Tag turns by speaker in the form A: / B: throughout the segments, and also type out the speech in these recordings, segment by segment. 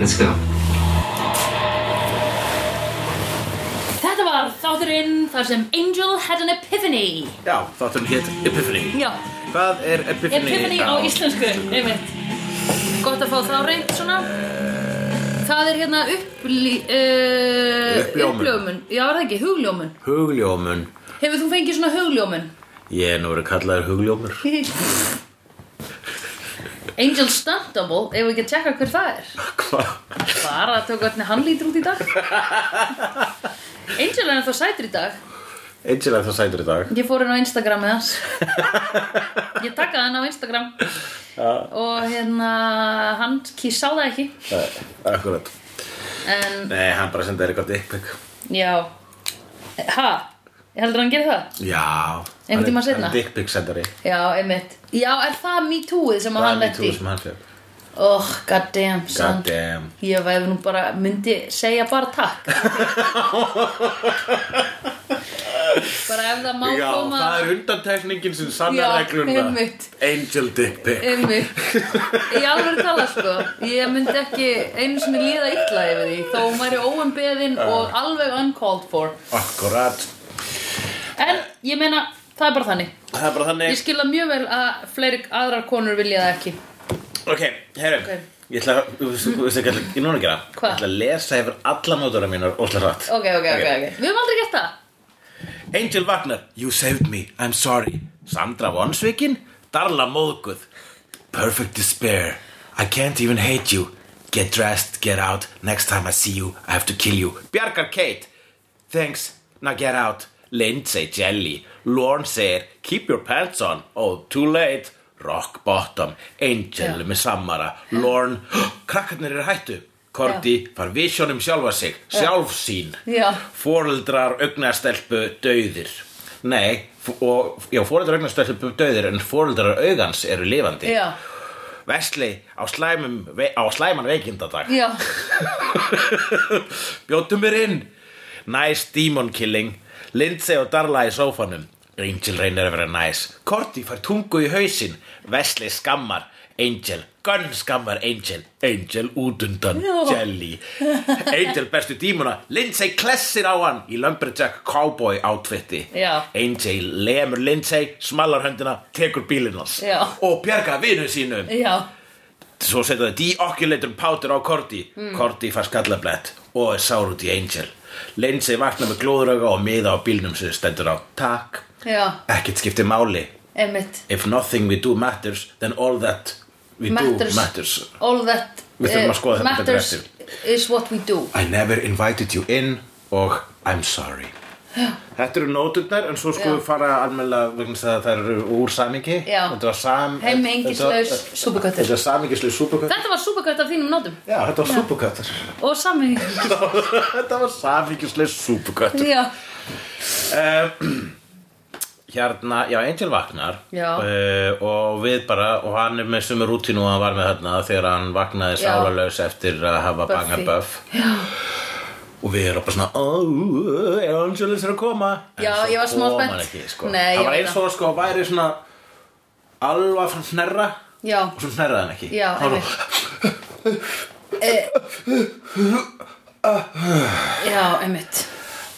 A: Let's go.
B: Þetta var þátturinn þar sem Angel had an epiphany
C: Já, þáttum hétt Epiphany
B: Já,
C: Hvað er Epiphany?
B: epiphany á íslensku einmitt. Gott að fá þá reynd svona Það er hérna upplí, uh,
C: Uppljómun.
B: Já, er það ekki, hugljómun
C: Hugljómun
B: Hefur þú fengið svona hugljómun?
C: Ég er nú verið kallaður hugljómur
B: Angel Stuntable, ef við ekki að tjekka hver það er
C: Hvað?
B: Bara að tók hvernig hann lítur út í dag Angel er ennþá sætur í dag
C: Angel er það sætur í dag
B: Ég fór henn á Instagram með hans Ég takkaði henn á Instagram Og hérna Hann kýr sá það ekki
C: Nei, Eh, Akkurat
B: En
C: Nei, hann bara senda þér eitthvað dickpic
B: já Ha? Ég heldur hann gerir það?
C: Já
B: Einhvern tíma
C: Hann er-
B: seinna?
C: hann er Dickpic sendari
B: Já, einmitt Já, er það me tooið sem að
C: Það er
B: hann
C: mjög
B: letti?
C: túr sem hann fyrir
B: Oh, goddamn, son
C: God damn
B: Ég væði nú bara, myndi segja bara takk Bara ef það má
C: Já,
B: koma
C: það er undantekningin sem
B: Já,
C: sannar regluna
B: einmitt. Eh.
C: Angel dickpic
B: Einmitt. Ég alveg tala sko Ég myndi ekki einu sinni líða illa yfir því Þó hún væri óumbeðin og alveg uncalled for
C: Akkurat
B: En ég meina, það er bara þannig
C: Það er bara þannig
B: Ég skila mjög vel að fleiri aðrar konur vilja það ekki
C: Ok, herrum
B: Ok.
C: Ég ætla að, þú veist þú veist ekki, ég núna að gera
B: Hvað?
C: Ég ætla að lesa yfir alla nótura mínar óslega hratt
B: Ok, ok, ok, ok Við höfum aldrei gert það
C: Angel Wagner, you saved me, I'm sorry Sandra Vonsvikin, Darla Móðguð Perfect despair, I can't even hate you Get dressed, get out, next time I see you, I have to kill you Bjargar Kate, thanks, now get out Lindsay Jelly, Lorne segir, keep your pants on Oh, too late, rock bottom Angel
B: Já.
C: með Samara, Lorne Krakkarnir eru hættu Korti far visjónum sjálfa sig, sjálfsýn
B: Já.
C: Fóreldrar augnastelpu döðir Nei, f- og, já, fóreldrar augnastelpu döðir en fóreldrar augans eru lifandi
B: Já,
C: Vesli á, slæmum, ve- á slæman veikindadag
B: já,
C: Bjóttu mér inn Nice demon killing Lindsay og Darla í sófanum Angel reynir að vera nice Korti fær tungu í hausinn Vesli skammar Angel Gunn skammar Angel Angel útundan
B: Já.
C: Jelly Angel bestu dímuna Lindsay klessir á hann í Lumberjack Cowboy outfitti
B: Já.
C: Angel lemur Lindsay smallar höndina tekur bílinn hans
B: Já.
C: og bjarga vinu sínum
B: já
C: Svo setja það deoculator powder á Korti
B: Hmm.
C: Korti fær skallablett og er sár út í Angel Lindsay vaknar með glóðrauga og miða á bílnum sem stendur á Takk
B: Já,
C: Ekkert skiptir máli
B: einmitt
C: If nothing we do matters Then all that we
B: Matters,
C: do matters
B: All that
C: Við þurfum að skoða
B: eh,
C: þetta betur
B: Matters is what we do
C: I never invited you in og I'm sorry Þetta eru nóturnar en svo sko
B: Já.
C: við fara almennilega vegna þess að það eru úr samingi
B: Já.
C: Þetta var sam
B: Heimengislaus
C: þetta-
B: súpuköttur.
C: Þetta var samingislaus súpuköttur
B: Þetta var súpakvætt af þínum nótum
C: Já, þetta var súpuköttur
B: Og sami
C: Þetta var samingislaus súpuköttur
B: Já,
C: Hérna, já, Angel vaknar
B: Já.
C: eh, Og við bara, og hann er með sömu rútínu og hann var með hérna Þegar hann vaknaði
B: Já.
C: sálalaus eftir að hafa
B: Buffy.
C: bangað Buff Já Og við erum bara svona, ó, er Angel þess að koma En
B: Já,
C: svo
B: ég var smá
C: kom
B: spennt.
C: hann ekki, sko.
B: Nei, ég
C: Það var
B: veit
C: eins
B: það.
C: og sko, væri svona Alva frá hnerra
B: já
C: Og svo hnerraði hann ekki
B: Já,
C: hann
B: einmitt Já, einmitt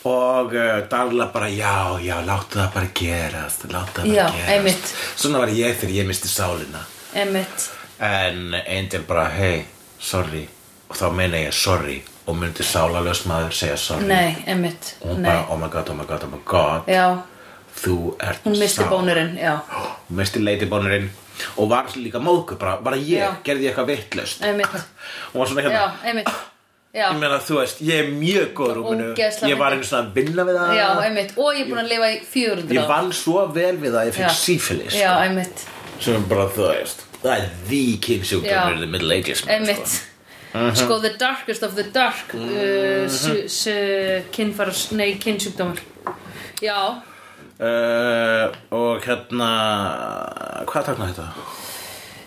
C: Og uh, Darla bara, já, já, láttu það bara gerast Láttu það bara
B: Já,
C: gerast
B: einmitt.
C: Svona var ég þegar ég misti sálina
B: Einmitt
C: En Angel bara, hey, sorry Og þá meina ég sorry Og myndi sálalös maður segja sorry
B: Nei, einmitt
C: Og hún bara,
B: Nei
C: oh my god, oh my god, oh my god
B: Já,
C: Þú ert
B: hún misti
C: sál.
B: bónurinn Já,
C: Hún misti leitibónurinn Og var líka móðku, bara, bara ég,
B: Já.
C: gerði ég eitthvað vittlust
B: Einmitt.
C: Hún var svona hérna
B: já, einmitt Já,
C: Ég meina, þú veist, ég er mjög góð rúminu
B: Ógeðslega
C: Ég var
B: mikið.
C: einu svona að vinna við það
B: já, einmitt Og ég er búin að lifa í 400
C: Ég vann svo vel við það, ég
B: Já.
C: fikk sífilis
B: Já, einmitt
C: Sem er bara, þú veist Það er því
B: Já.
C: kynsjúkdómur in the middle ages man, sko.
B: Einmitt Sko, the darkest of the dark uh,
C: Mhm.
B: su- su- Kynfærs, nei, kynsjúkdómur Já,
C: Eh, Uh, og hérna hvað takna þetta?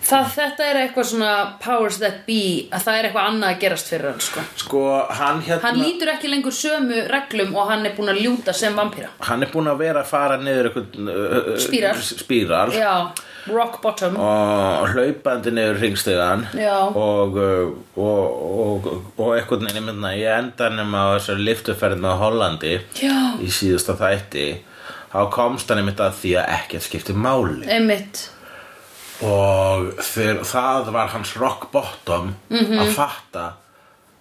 B: Það þetta er eitthvað svona powers that be að það er eitthvað annað að gerast fyrir hann sko.
C: Sko, hann hérna
B: Hann lítur ekki lengur sömu reglum og hann er búinn að ljúta sem vampýra
C: Hann er búinn að vera að fara niður einhvern uh, uh,
B: Spíral.
C: spíral
B: Já, rock bottom
C: og hlaupandi niður hringstegan
B: Já.
C: og, uh, og, og, og einhvern veginn mynda í endanum á þessari liftuferð með Hollandi
B: Já.
C: í síðasta þætti þá komst hann einmitt að því að ekkert skipti máli
B: Einmitt
C: og þegar það var hans rock bottom
B: Mhm.
C: að fatta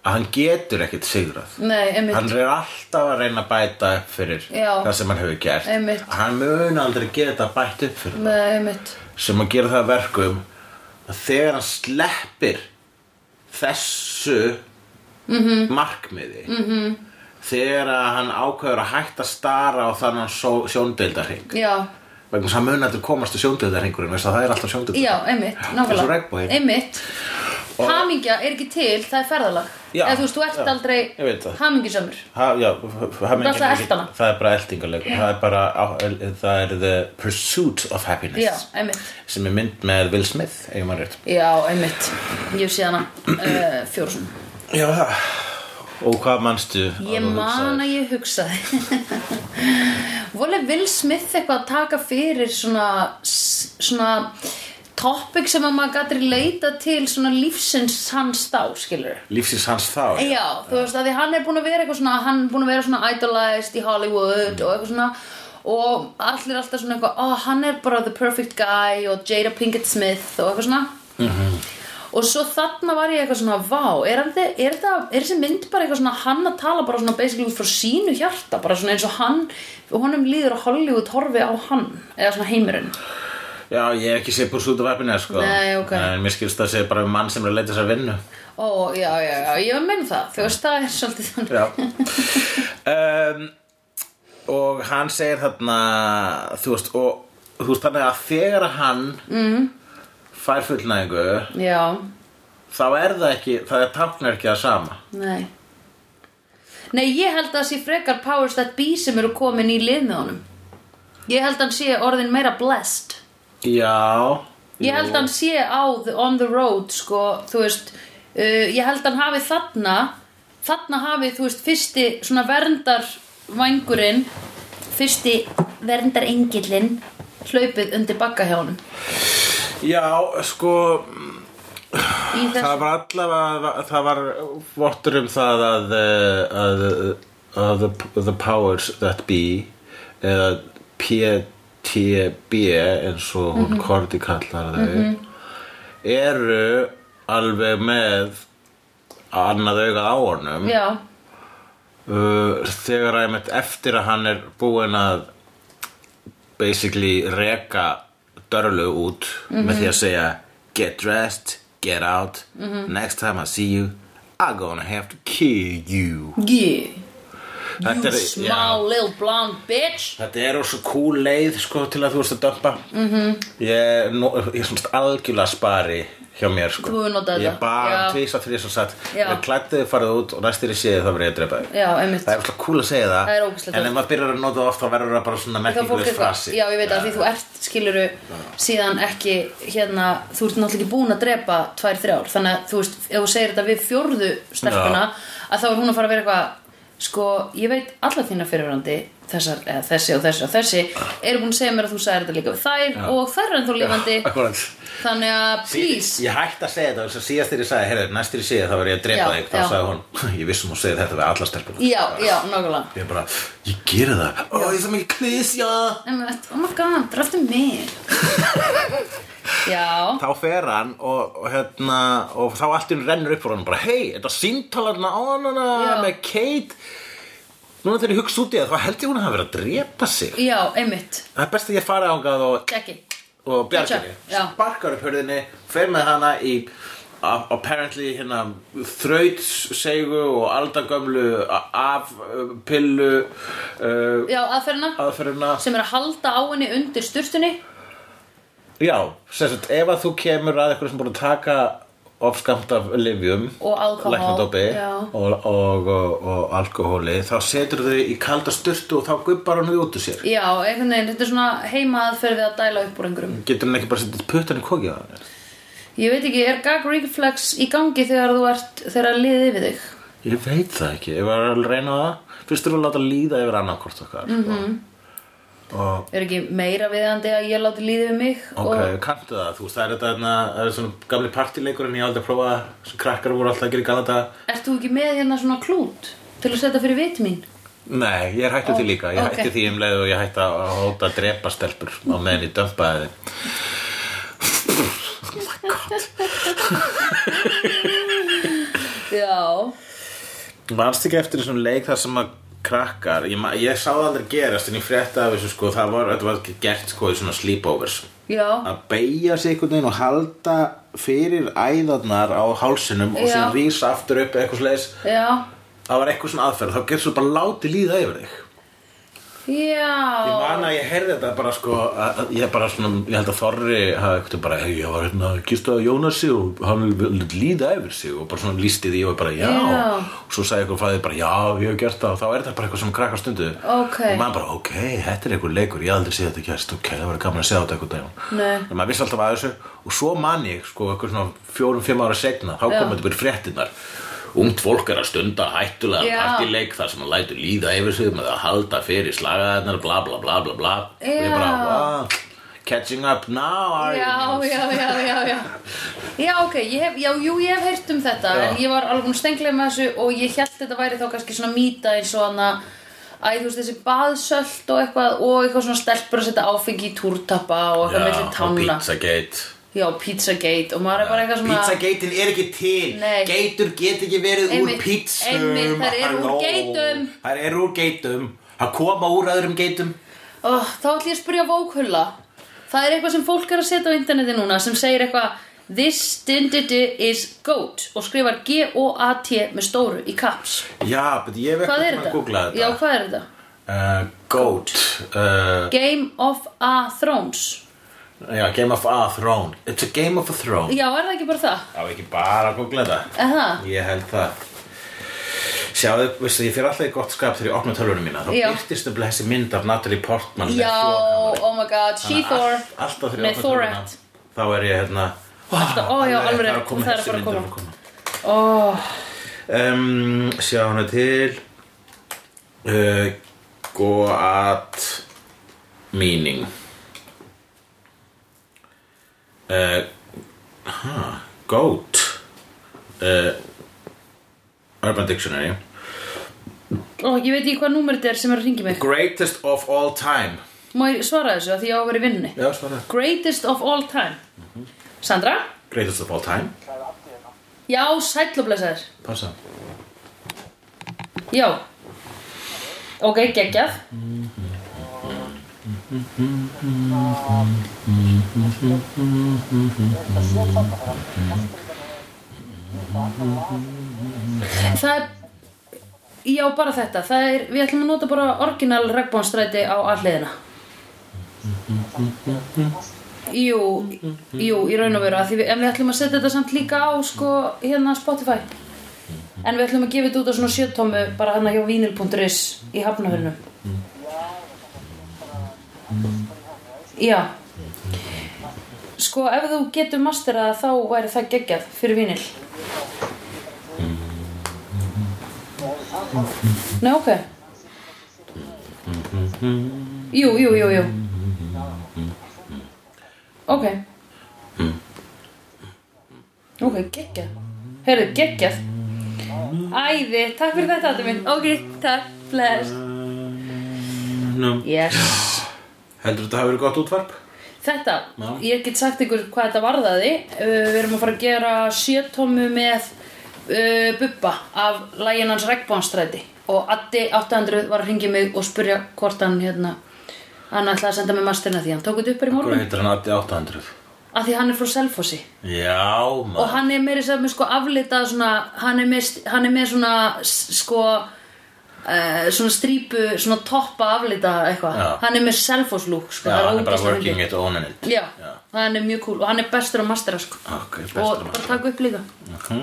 C: að hann getur ekkert sigrað
B: Nei, einmitt
C: hann er alltaf að reyna að bæta upp fyrir
B: Já.
C: það sem hann hefur gert
B: Einmitt.
C: hann mun aldrei geta bætt upp fyrir
B: Nei, einmitt
C: sem að gera það að verkum að þegar hann sleppir þessu
B: Mhm.
C: markmiði -hmm. þegar að hann ákveður að hætta að stara á þannan sjó, sjóndeildarhing
B: Já,
C: vegna þess að hann mun aldrei komast til sjóndeildarhingurinn vegna þess að það er alltaf sjóndeildarhing
B: já, einmitt
C: Eins og
B: Nákvæmlega
C: regnboginn.
B: Einmitt
C: Og-
B: Hamingja er ekki til, það er ferðalag
C: Já,
B: Eða þú veist, þú ert
C: já, ég veit það.
B: aldrei hamingjusamur
C: Ha, já, ha,
B: alltaf að elta hana.
C: það er bara eltingarleikur það er bara á- það er the pursuit of happiness
B: Já, einmitt
C: sem er mynd með Will Smith eigum að rétt
B: Já, einmitt Ég sé hana uh, fjórsum
C: já það og hvað manstu
B: Ég man að ég hugsaði Voli Will Smith eitthvað að taka fyrir svona, svona topic sem að maður gæti leita til svona lífsins hans þá, skilur
C: lífsins hans þá
B: Já, þú veist að því hann er búin að vera eitthvað svona hann er búin að vera svona idolized í Hollywood og eitthvað svona og allir alltaf svona eitthvað, ó hann er bara the perfect guy og Jada Pinkett Smith og eitthvað svona Mhm. og svo þarna var ég eitthvað svona vá, er, hann, þi- er, það, er þessi mynd bara eitthvað svona hann að tala bara svona basically út frá sínu hjarta bara svona eins og hann og honum líður að Hollywood horfi á hann eða svona heimurinn
C: Já, ég hef ekki séð Pursuit of Happiness sko.
B: Nei, ok.
C: En mér skilst það sé bara um mann sem er að leita sér að vinnu
B: ó já, já, já, ég menn það þú veist það er svolítið þannig
C: Já um, Og hann segir þarna Þú veist, og, þú veist þannig að þegar hann mm.
B: Mhm.
C: fær fullnæðingu
B: já,
C: þá er það ekki, það er táknar ekki það sama
B: Nei Nei, ég held að það sé frekar powers that be sem eru komin í lið með honum Ég held að hann sé orðin meira blessed
C: Já
B: Ég held að hann sé á the, on the road sko, þú veist uh, Ég held að hann hafi þarna þarna hafi, þú veist, fyrsti svona verndarvængurinn fyrsti verndarengillinn hlaupið undir bakka hjá honum
C: Já, sko
B: Í þess...
C: Það var allavega, það var vottur um það að, eh, að, að the, the powers that be eða PTB eins og hún Korti kallar þau eru alveg með annað augað á honum
B: Já,
C: uh, þegar að einmitt eftir að hann er búinn að basically reka dörlu út með
B: Mhm.
C: því að segja get dressed, get out next time I see you I'm gonna have to kill you
B: yeah You
C: Þetta er-
B: small little blonde bitch
C: Þetta er svo cool leið sko til að þú veist að dömpa mm -hmm.
B: Mhm.
C: Ég, nú, ég er svona algjörlega spari hjá mér sko
B: Þú hefur notað
C: Ég
B: þetta,
C: bara
B: já.
C: tvísa því sem sagt
B: Já.
C: Ég klættiði farið út og næstir ég séði þá verið ég að drepa þig
B: Já, einmitt
C: Það er alltaf cool að segja það,
B: Það er ógeðslega
C: En ef maður byrjar að nota það oft þá verður það bara svona
B: þá fólk
C: merkingulis
B: eitthvað,
C: frasi
B: já ég veit að því þú ert skiluru síðan ekki hérna, þú ert náttúrulega ekki búin að drepa tvær þrjár, þannig að þú veist ef þú segir þetta við fjórðu stelpuna að þá er hún að fara að vera eitthvað sko, ég veit allar þína fyrirverandi þessar, eða, þessi og þessi og þessi eru búin að segja mér að þú sagðir þetta líka við þær og þær er ennþá lifandi
C: Akkúrat.
B: þannig að please
C: Ég hætti að segja þetta þess að síðast þegar ég sagði heyrðu, næstir ég segja þá verður ég að drepa
B: Já,
C: þig þá
B: já.
C: sagði hún, ég vissum hún segið þetta við alla stelpuna
B: já, já, nákvæmlega
C: Ég bara, ég gera það Ó, ég er svo mikið klísja
B: Einmitt, oh my god, draftu mig já,
C: Þá fer hann og, og, hérna, og þá allt hún rennur upp fyrir hann bara, hei, þetta síntalarna á hann
B: Já.
C: með Kate Núna þegar ég hugsa út í það, þá held ég hún að hafa verið að drepa sig
B: já, einmitt
C: Það er best að ég fara ángað og
B: ekki,
C: og bjargar
B: Já.
C: sparkar upp hörðinni, fer með hana í a- apparently hérna þraut segu og aldagömlu a- af uh, pillu uh,
B: já, aðferðina
C: aðferðina
B: sem er að halda á henni undir styrtunni
C: já, sem sagt, ef að þú kemur að eitthvað sem búin að taka ofskamt af livjum
B: Og alkóhól,
C: læknadópi
B: já.
C: og, og, og, og alkohóli þá setur þau í kalda styrtu og þá gubbar hann þau út úr sér
B: Já, einhvern veginn, þetta er svona heima aðferð við að dæla upp úr einhverjum
C: getur hann ekki bara setið puttan í kokið á hann
B: Ég veit ekki, er gag reflex í gangi þegar þú ert, þegar liðið yfir þig?
C: Ég veit það ekki, ég var að reyna það Fyrst erum við að láta líða yfir annarkort okkar mm -hmm. Og,
B: Er ekki meira viðandi að ég láti líðið yfir mig?
C: ok, kanntu það, þú veist, það er þetta þarna, það er svona gamli partileikur en ég hef aldrei prófað sem krakkar voru alltaf að gera í gala þetta
B: Og ert þú ekki með hérna svona klút til að setja fyrir vit mín?
C: Nei, ég er hættu því líka, ég
B: ok.
C: hætti því um leið og ég hætti að hóta að drepa stelpur á meðan ég dömpaði þeim
B: Já,
C: Manst ekki eftir þessum leik þar sem að krakkar, ég, ma- ég sá það aldrei gerast en ég frétti af þessu sko, það var, þetta var gert sko í svona sleepovers
B: já,
C: að beigja sig einhvern veginn og halda fyrir æðarnar á hálsinum og
B: Já.
C: síðan rísa aftur upp eða eitthvað slegis
B: já,
C: það var eitthvað svona aðferð, þá gerst þú bara láti líða yfir þig Ég
B: já,
C: man að ég heyrði þetta bara sko að, að ég bara svona, ég held að Þorri hafi eitthvað bara, hei, ég var hérna að kista Jónasi og hann lét líða yfir sig og bara svona lísti því og bara, já
B: Já.
C: og svo sagði eitthvað fæðið bara, já, ég hef gert það og þá er þetta bara eitthvað sem krakkar stundu
B: Ok.
C: og maður bara, ok, þetta er eitthvað leikur, ég hef aldrei séð þetta gerst, ok, það var gaman að segja þetta eitthvað dagum
B: Nei.
C: en maður vissi alltaf að þessu og svo man ég, sko, eitthvað svona fjórum, fimm ára segna, þá
B: Já.
C: kom þetta bara fréttinnar Ungt fólk er að stunda hættulega
B: Já.
C: partileik þar sem hann lætur líða yfir sig með að halda fyrir slagaðarnar bla bla bla bla bla og ég bara,
B: Já.
C: wow, catching up now are
B: já,
C: you?
B: já, já, já, já. Já, ok, ég hef, já, jú, ég hef heyrt um þetta
C: Já.
B: en ég var alveg búin að stenglega með þessu og ég held þetta væri þá kannski svona mýta eins og hann að Æ, þú veist, þessi baðsöld og eitthvað og eitthvað svona stelpur að setja áfengi í túrtappa og eitthvað milli
C: og
B: tanna
C: Pizzagate
B: Já, Pizzagate og maður er bara eitthvað svona
C: Pizzagetin er ekki til
B: Nei.
C: Geitur get ekki verið
B: Einmitt,
C: úr pizzum
B: einmitt, þær eru úr
C: halló.
B: geitum.
C: Þær eru úr geitum Það koma úr öðrum geitum
B: oh, Þá ætlum ég að spyrja Vókhulla Það er eitthvað sem fólk er að setja á interneti núna sem segir eitthvað This dindidi is goat og skrifar G-O-A-T með stóru í caps
C: Já, betur ég veit
B: Hvað er
C: að googla
B: þetta? Já,
C: þetta
B: hvað er þetta?
C: uh, Goat uh,
B: Game of a Thrones
C: Já, Game of a Throne It's a Game of a Throne
B: Já, er það ekki bara það?
C: Það var ekki bara að googla þetta
B: Er það?
C: Ég held það Sjáðu, veistu, ég fyrir alltaf í gott skap þegar ég opna tölvunum mína Þá
B: Já.
C: byrtist nefnilega þessi mynd af Natalie Portman með
B: Já,
C: þokhafari.
B: oh my god,
C: Þannig að
B: She-Thor
C: all- Alltaf þegar ég
B: með
C: opna tölvuna
B: Thorat
C: Þá er ég hérna
B: Alltaf, ó, já, alveg
C: Það er
B: rétt,
C: að koma
B: það er
C: þessi
B: bara að
C: mynd er
B: koma.
C: að koma
B: oh,
C: um, Sjá hana til uh, Goat Meaning uh, huh, Goat uh, Urban Dictionary
B: oh, Ég veit ekki hvað númer þetta er sem er að ringi mig
C: Greatest of all time
B: Má ég svara þessu að því ég á að vera í vinnunni
C: Já, svara
B: Greatest of all time
C: Mhm.
B: Sandra?
C: Greatest of all time
B: Já, sæll og blessaður
C: Passa
B: Já Ok, geggjað Það er Já, bara þetta Það er, við ætlum að nota bara orginal regnbónstræti á alliðina Jú, jú, í raun og veru af því við, En við ætlum að setja þetta samt líka á sko, hérna Spotify En við ætlum að gefa þetta út á svona sjötómu bara hann hjá vinil.is í hafnahörnum. Já. Sko, ef þú getur masterað þá væri það geggjað fyrir vinil. Nei, ok. Jú, jú, jú, jú. Ok. Ok, geggjað. Herðu, geggjað. Æði, takk fyrir þetta Addi minn Ok, takk, bless
C: Nú,
B: Yes
C: heldur þetta hafi verið gott útvarp?
B: Þetta,
C: Já.
B: ég get sagt ykkur hvað þetta varðaði uh, Við erum að fara að gera sjötommu með uh, Bubba af lægin hans Regnbónstræti og Addi 800 var að ringi mig og spurja hvort hann hérna hann ætlaði að senda mig masterna því hann tók þetta upp bara í
C: Hvað
B: morgun
C: heitir hann Addi 800?
B: af því hann er frá Selfossi
C: Já, maður
B: og hann er meira sem með sko aflitað svona, hann er með, hann er með svona s- sko uh, svona strípu, svona toppa aflitað eitthvað,
C: Já.
B: hann er með selfos look sko,
C: Já,
B: það
C: hann er bara
B: ógeðslega
C: working
B: fyndið.
C: it, owning it
B: Já,
C: Já.
B: hann er mjög cool og hann er bestur á mastera sko
C: Ok, bestur á
B: og
C: mastera.
B: bara taka upp líka
C: Mhm.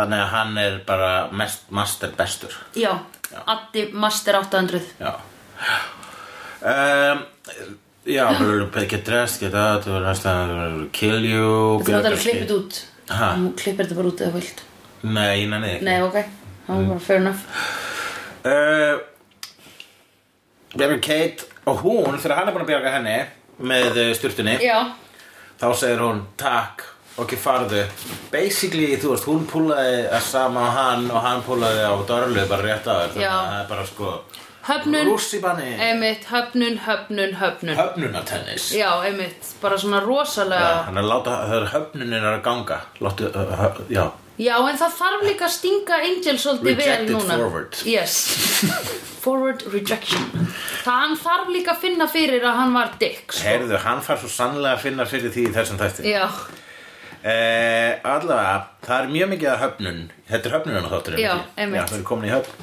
C: Þannig að hann er bara mest, master bestur
B: Já, Addi Master 800
C: Já um, Já, bara get dressed, get out, rest, kill you
B: Þú náttúrulega klippið þetta út
C: Ha?
B: Þú klippir þetta bara út eða þú vilt
C: Nei, nei, nei
B: Nei, ok, það
C: Mm.
B: var bara fair enough
C: uh, Bjargar Kate og hún, þegar hann er búin að bjarga henni með uh, styrtunni
B: Já,
C: þá segir hún takk ok, farðu basically, þú veist, hún púlaði að sama á hann og hann púlaði á Dörlu bara rétt á þér, þannig
B: Já.
C: að það er bara sko
B: höfnun
C: rússibanni,
B: Einmitt, höfnun, höfnun, höfnun
C: höfnunartennis
B: Já, einmitt, bara svona rosalega
C: þannig að láta, þegar höfnunin er að ganga láttu, uh, hö, já
B: Já, en það þarf líka að stinga Angel svolítið
C: Rejected
B: vel núna
C: forward.
B: Yes Forward rejection Það hann þarf líka að finna fyrir að hann var dick sko.
C: heyrðu, hann fær svo sannlega að finna fyrir því í þessum þætti
B: Já,
C: Eh, allavega, það er mjög mikið að höfnun Þetta er höfnunum þátturinn
B: Já,
C: ekki?
B: einmitt.
C: Já, það er komin í höfn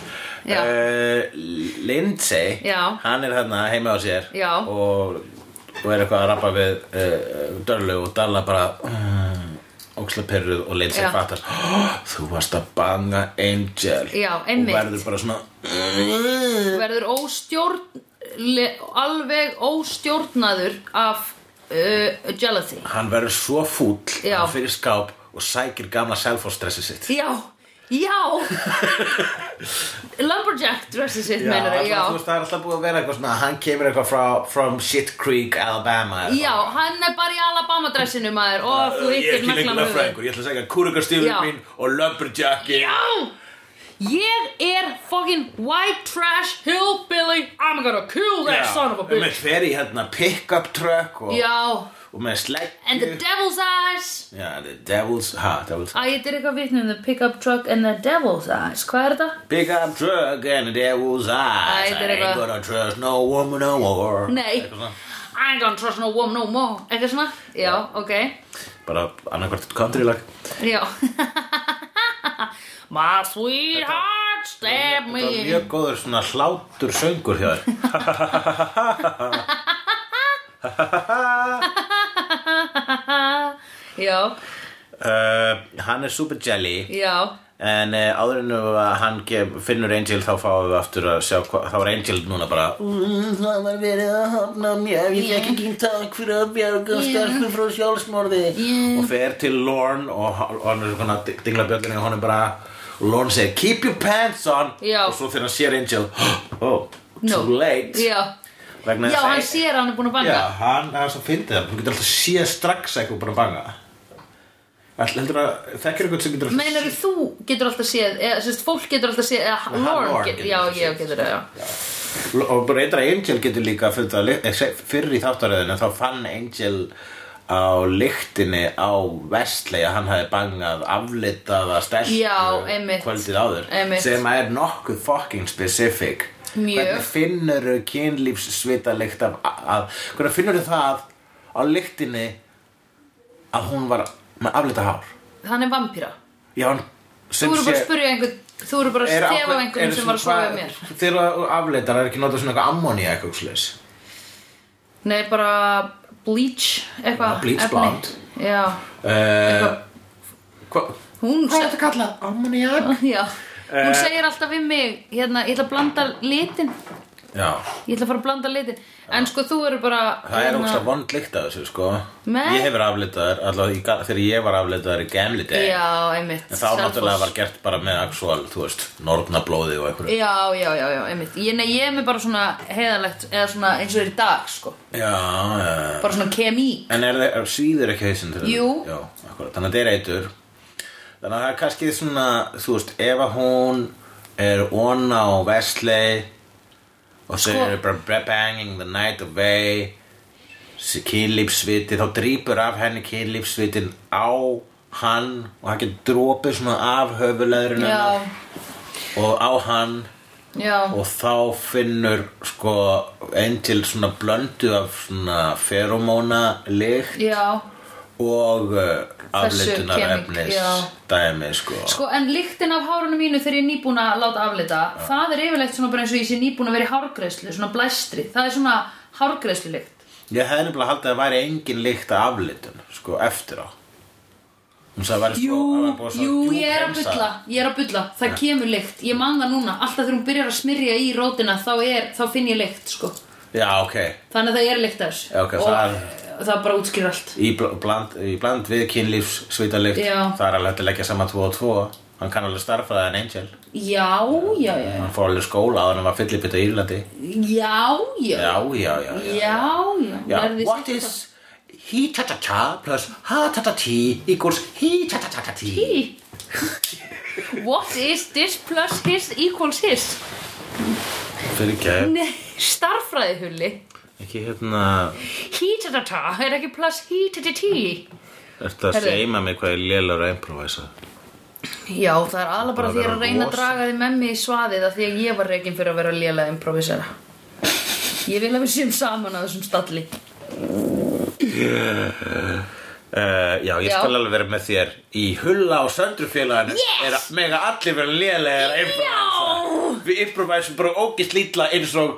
B: Já.
C: Eh, Lindsay,
B: Já.
C: hann er hérna heima á sér
B: Já.
C: og, og er eitthvað að rappa við uh, Dörlu og Dalla bara mm, óksla perruð og Lindsay
B: Já.
C: fattar "Hó, Þú varst að banga Angel
B: Já, einmitt.
C: Og verður bara svona "Mm."
B: verður óstjórn alveg óstjórnaður af uh, jealousy
C: Hann verður svo fúll
B: Já.
C: hann fyrir skáp og sækir gamla self-stressið sitt
B: Já, já Lumberjack dressið sitt
C: Já,
B: meinar
C: allavega, þú
B: já
C: veist, það er alltaf búið að vera eitthvað svona Hann kemur eitthvað frá from Shit Creek, Alabama eða
B: Já,
C: eitthvað.
B: hann er bara í Alabama dressinu maður og þú
C: Ég er
B: hittir
C: ekki
B: neglan
C: lengur
B: höfuð.
C: fræðingur, ég ætla að segja kúrugastíður
B: Já.
C: mín og lumberjacki
B: Já Ég er fucking white trash hillbilly I'm gonna kill that son of a
C: Með
B: bitch
C: fer í hérna pick-up truck og,
B: Já
C: og með
B: And the
C: sleggju
B: devil's eyes
C: Já, the devil's, ha, devil's
B: Æ, ég er eitthvað vitnum The pickup truck and the devil's eyes Hvað er þetta?
C: Pick-up truck and the devil's
B: Æ, þetta
C: eyes I
B: er
C: ain't
B: eitthvað-
C: gonna trust no woman no more
B: Nei
C: Eitthvað svona.
B: I ain't gonna trust no woman no more Eitthvað svona? Já, ok
C: Bara annarkvart country lag
B: Já My sweetheart stabbed
C: Þetta var
B: me
C: mjög góður svona hlátur söngur hjá þér
B: Já,
C: uh, Hann er super jelly
B: já
C: En uh, áður en að hann gef, finnur Angel þá fáum við aftur að sjá hvað, þá er Angel núna bara "Mm, Það var verið að hafna mér, ég fekk ekki takk fyrir að bjarga yeah. stelpu frá sjálfsmorði
B: Yeah.
C: Og fer til Lorne og og hann er svona að dingla bjöllinu og hann er bara Lorne segir keep your pants on
B: Já.
C: og svo þegar hann sér Angel oh,
B: No.
C: too late
B: Já,
C: Vegna
B: já
C: þess að-
B: hann sér að hann er búin að banga
C: Já, hann er svo fyndið það, hún getur alltaf séð strax að eitthvað búin að banga Ætli- Heldur að þekkir eitthvað sem getur alltaf
B: Meinar þú getur alltaf séð eða sérst fólk getur alltaf séð eða
C: Nei, hann
B: Lorne
C: Lorne
B: getur,
C: getur
B: já
C: alltaf
B: ég
C: séð.
B: getur það, já
C: og bara eitthvað Angel getur líka fundið að lykt- eh, se- fyrr í þáttaröðinu þá fann Angel á lyktinni á Vestley að hann hafi bangað aflitaða stelpu
B: Já, einmitt.
C: kvöldið áður
B: Einmitt.
C: sem er nokkuð fucking specific
B: Mjög.
C: hvernig finnurðu kynlífssvita lykt af, af hvernig finnurðu það á lyktinni að hún var með aflitað hár
B: Hann er vampíra
C: já, hann
B: Þú
C: sem
B: eru bara að
C: sé-
B: spyrja einhvern Þú eru bara að
C: er
B: stefa
C: ákveð-
B: af einhvern
C: er
B: sem
C: svona
B: var að sofa
C: hvað-
B: hjá mér
C: þegar aflitar er ekki notað svona eitthvað ammóníak eitthvað slags
B: Nei, bara bleach eitthvað
C: Já, Ah, bleach
B: efni.
C: blonde.
B: Já,
C: Eh, hva-
B: hún
C: Hvað er þetta kallað? Ammoniak?
B: Já, hún
C: Eh.
B: segir alltaf við mig hérna, ég ætla að blanda litin
C: Já,
B: ég ætla að fara að blanda litin en sko þú eru bara
C: það er ógst að vond lykt af þessu sko
B: Hérna. Nei.
C: Ég hefur aflitaðar, allavega í ga- þegar ég var aflitaðar í gamli dag
B: Já, einmitt
C: En þá náttúrulega var gert bara með actual, þú veist, nornablóði og einhverju
B: Já, já, já, já, einmitt ég, nei, ég er með bara svona heiðalegt eða svona eins og er í dag, sko
C: Já, já
B: bara svona kemí
C: En er það, er svíður ekki hausinn til
B: Jú.
C: Já, akkurat, þannig að þetta er eitur Þannig að það er kannski svona, þú veist, ef að hún er onna á Vestley og þau
B: Sko-
C: eru bara banging the night away kynlífsviti, þá drýpur af henni kynlífsvitin á hann og hann getur dropið svona af höfuleðurinn
B: Já,
C: og á hann
B: já,
C: og þá finnur sko Angel svona blöndu af svona feromóna lykt
B: já
C: og uh,
B: Þessu
C: aflitunar
B: kemik,
C: efnis
B: já.
C: dæmi sko
B: Sko, en lyktin af hárunum mínu þegar ég er nýbúin að láta aflita það er yfirleitt svona bara eins og ég sé nýbúin að vera í hárgreislu svona blæstri, það er svona hárgreislu lykt
C: ég hefði nefnilega haldið að það væri engin lykt af aflitun sko eftir á hún sagði að væri sko
B: Jú,
C: að væri búið að
B: jú,
C: djúp
B: ég er að
C: hreinsa.
B: bulla, ég er að bulla það kemur lykt, ég man það núna alltaf þegar hún byrjar að smyrja í rótina þá, er, þá finn ég lykt, sko
C: Já, ok
B: Þannig að það er líkt af þessu
C: Já, ok,
B: og
C: það
B: það bara útskýr allt
C: Í bl- bland, í bland við kynlífs svítalikt
B: Já.
C: Það er alveg hægt að leggja saman 2 og 2 Hann kann alveg starfraða en Angel
B: Já, já, já
C: Hann fór alveg í skóla á hann var fyllipita í Írlandi
B: Já, já
C: Já, já, já, já.
B: Já, já,
C: Já,
B: Lærði
C: what
B: sitt
C: is he cha cha cha plus ha ta ta ti equals he cha cha cha cha ti
B: What is this plus his equals his
C: Fyrir ekki,
B: Nei, starffræðihulli
C: ekki hérna
B: He-ta-ta-ta er ekki plus he-ta-ta-ti
C: Ertu að
B: Herðu.
C: seima mig hvað ég lélar að improvisa
B: Já, það er alveg bara
C: Það
B: því
C: er
B: að reyna
C: rosa.
B: að draga því með mig í svaðið að því að ég var reygin fyrir að vera lélega improvisera Ég vil að við séum saman á þessum stalli
C: uh, Já, ég
B: Já.
C: skal alveg vera með þér Í hulla og söndrufélaginu yes! er, Mega allir vera lélegir að improvisa Við improvisum bara ógist lítla eins og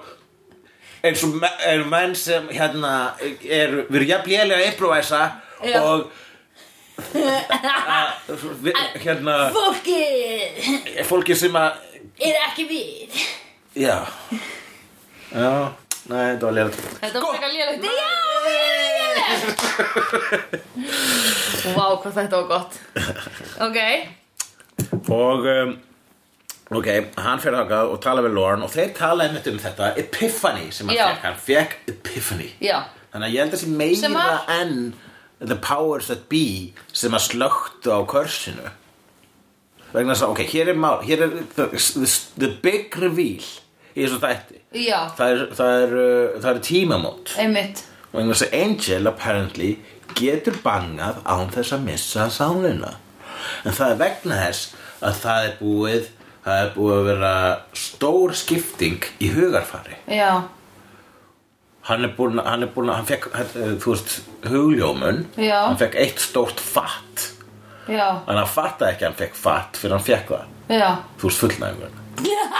C: eins og me- eru menn sem hérna er, við erum jafn lélega að improvisa
B: Já.
C: og að, við, hérna
B: Fólkið
C: fólki sem að
B: er ekki við
C: Já Já, nei, þetta var lélægt
B: Þetta var
C: Sko-
B: frekar lélegt Já, lélegt Vá, hvað þetta var gott Ok
C: Og, um, ok, hann fyrir þangað og tala við Lauren og þeir tala einmitt um þetta Epiphany sem hann
B: Já.
C: fekk, hann fekk Epiphany
B: Já.
C: Þannig að ég held að sé
B: Sem
C: meira
B: að-
C: enn The Powers That Be sem að slögtu á körsinu Vegna þess að, ok, hér er mál, hér er the, the, the big reveal í þessu þætti
B: Já,
C: Það er, það er, uh, það er tímamót
B: einmitt
C: og þannig að Angel apparently getur bangað án þess að missa sálina en það er vegna þess að það er búið það er búið að vera stór skipting í hugarfari
B: Já,
C: hann er búin, hann er búin, hann fekk hann, eh, þú veist, hugljómun
B: Já.
C: hann fekk eitt stórt fatt
B: já,
C: en hann fattaði ekki að hann fekk fatt fyrir hann fekk það,
B: já
C: þú veist fullnægur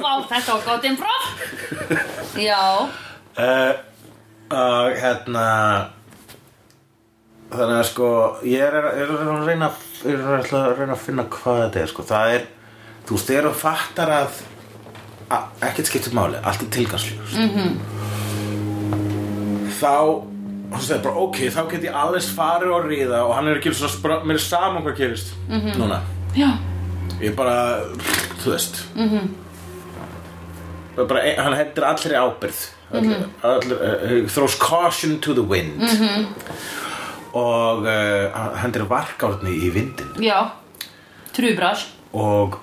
B: Vá, þetta var gott improv Já,
C: Eh, og hérna þannig að sko ég er, er, er, að reyna, er að ætla að reyna að finna hvað þetta er sko. það er, þú veist, þegar þú fattar að, að ekkert skiptir máli allt er tilgangsljóst mm -hmm. þá þú segir bara, ok, þá get ég alveg farið og ríða og hann er ekki svo spra, mér er saman hvað gerist mm -hmm. núna
B: já,
C: ég bara, þú veist mm -hmm. bara, hann hendur allri ábyrð mm -hmm. allri, uh, throws caution to the wind -hmm. og uh, hann hendur varkárni í vindin
B: já Trúbrás
C: og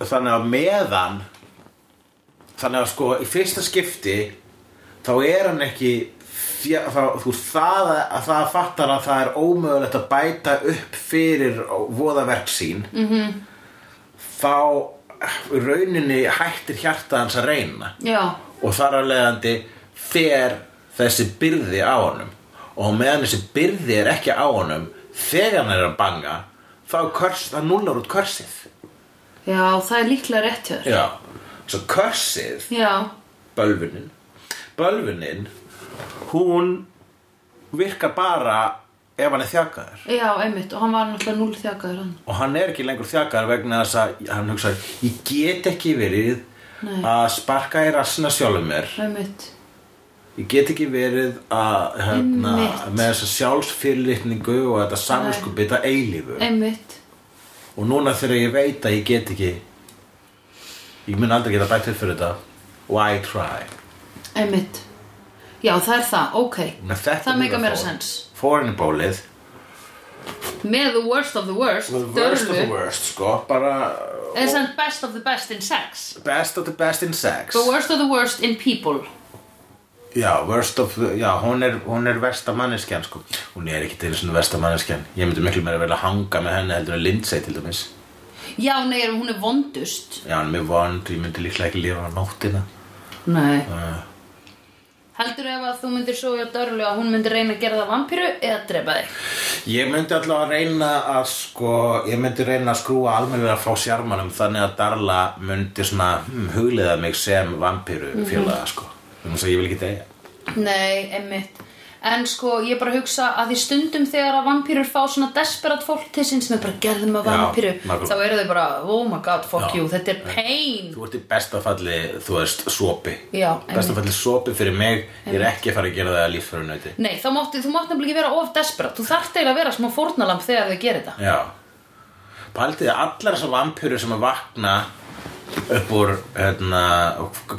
C: þannig að meðan þannig að sko í fyrsta skipti þá er hann ekki fjá- þá, þú veist, það að, að það fattar að það er ómögulegt að bæta upp fyrir voðaverk sín mm -hmm. þá í rauninni hættir hjarta hans að reyna
B: Já,
C: og þar af leiðandi fer þessi byrði á honum og á meðan þessi byrði er ekki á honum þegar hann er að banga þá körs, það núlar út körsið
B: já, það er líklega rétt hjá þér
C: Já, svo körsið
B: Já,
C: bölvunin bölvunin hún virkar bara ef hann er þjakaður
B: já, einmitt Og hann var náttúrulega núl þjakaður hann
C: og hann er ekki lengur þjakaður vegna þess að hann hugsar ég get ekki verið
B: Nei.
C: að sparka í rassina sjálfum mér
B: Einmitt
C: ég get ekki verið að hérna,
B: Einmitt.
C: með þessa sjálfsfyrirlitningu og þetta samvinskupita eilífu
B: Einmitt
C: og núna þegar ég veit að ég get ekki ég mun aldrei geta bætt upp fyrir þetta why try
B: Einmitt Já, það er það, ok
C: Með þetta
B: Það meika
C: hugarfar-
B: meira sens
C: Fór henni bólið
B: Með the worst of the worst
C: The worst of the
B: Dörlu.
C: worst, sko Bara
B: Is that best of the best in sex
C: Best of the best in sex
B: The worst of the worst in people
C: Já, worst of the Já, hún er, hún er versta manneskjan, sko Hún er ekki til svona versta manneskjan Ég myndi miklu meira vel að hanga með henni heldur en Lindsay til dæmis
B: Já, nei, ef hún er vondust
C: Já, hann er mér vond Ég myndi líklega ekki lifa á nóttina
B: Nei Heldur ef að þú myndir sofa hjá Dörlu að hún myndir reyna að gera það vampíru eða drepa þig?
C: Ég myndi alltaf að reyna að sko Ég myndi reyna að skrúa almennilega frá sjarmanum Þannig að Darla myndi svona hm, Hugliða mig sem vampíru fjölaða, sko Þannig að ég vil ekki deyja
B: Nei, einmitt. En sko, ég er bara að hugsa að því stundum þegar að vampýrur fá svona desperat fólk til sinn sem er bara gerðum að
C: Já,
B: vampýru
C: nákvæmlega.
B: þá eru þau bara, oh my god, fuck
C: Já.
B: you, þetta er pain
C: Þú ert í bestafalli, þú veist, sopi
B: Já,
C: Bestafalli sopi fyrir mig Ég er ekki að fara að gera það að líffærunauti
B: Nei, þá mátti, þú mátti nefnilega ekki vera of desperat Þú þarft eiginlega að vera smá fórnalamb þegar þau gerir þetta
C: Já Paldið að allar þessar vampýrur sem að vakna upp úr hérna,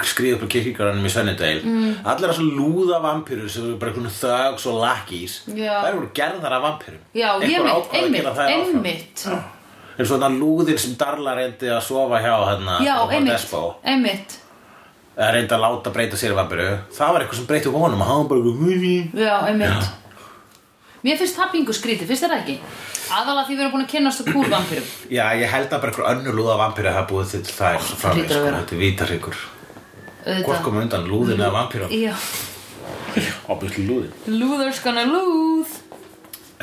C: skriða upp úr kirkíkarunum í Sunnydale mm. allar þessar lúða vampýrur sem eru bara einhvern þögs og lakkís
B: Já.
C: þær voru gerðar af vampýrum
B: Já, ég mitt, einmitt,
C: einmitt
B: einmitt
C: eins og þannig lúðin sem Darla reyndi að sofa hjá hérna,
B: Já,
C: á
B: einmitt,
C: Despo.
B: einmitt
C: að reynda að láta breyta sér í vampiru það var eitthvað sem breyti honum og hann bara eitthvað,
B: Já, einmitt Mér finnst það bingu skrítið, finnst þér það ekki? Aðalega því við erum búin að kynnast að kúr vampýrum
C: já ég held að bara einhver önnur lúða vampiru hafa búið til það eins og framveg
B: hlýtur að
C: sko,
B: vera.
C: þetta er vítarhyggur hvort
B: Auðvitað
C: kom undan lúðin eða vampiru
B: Já,
C: obviously lúðin
B: lúður's gonna lúð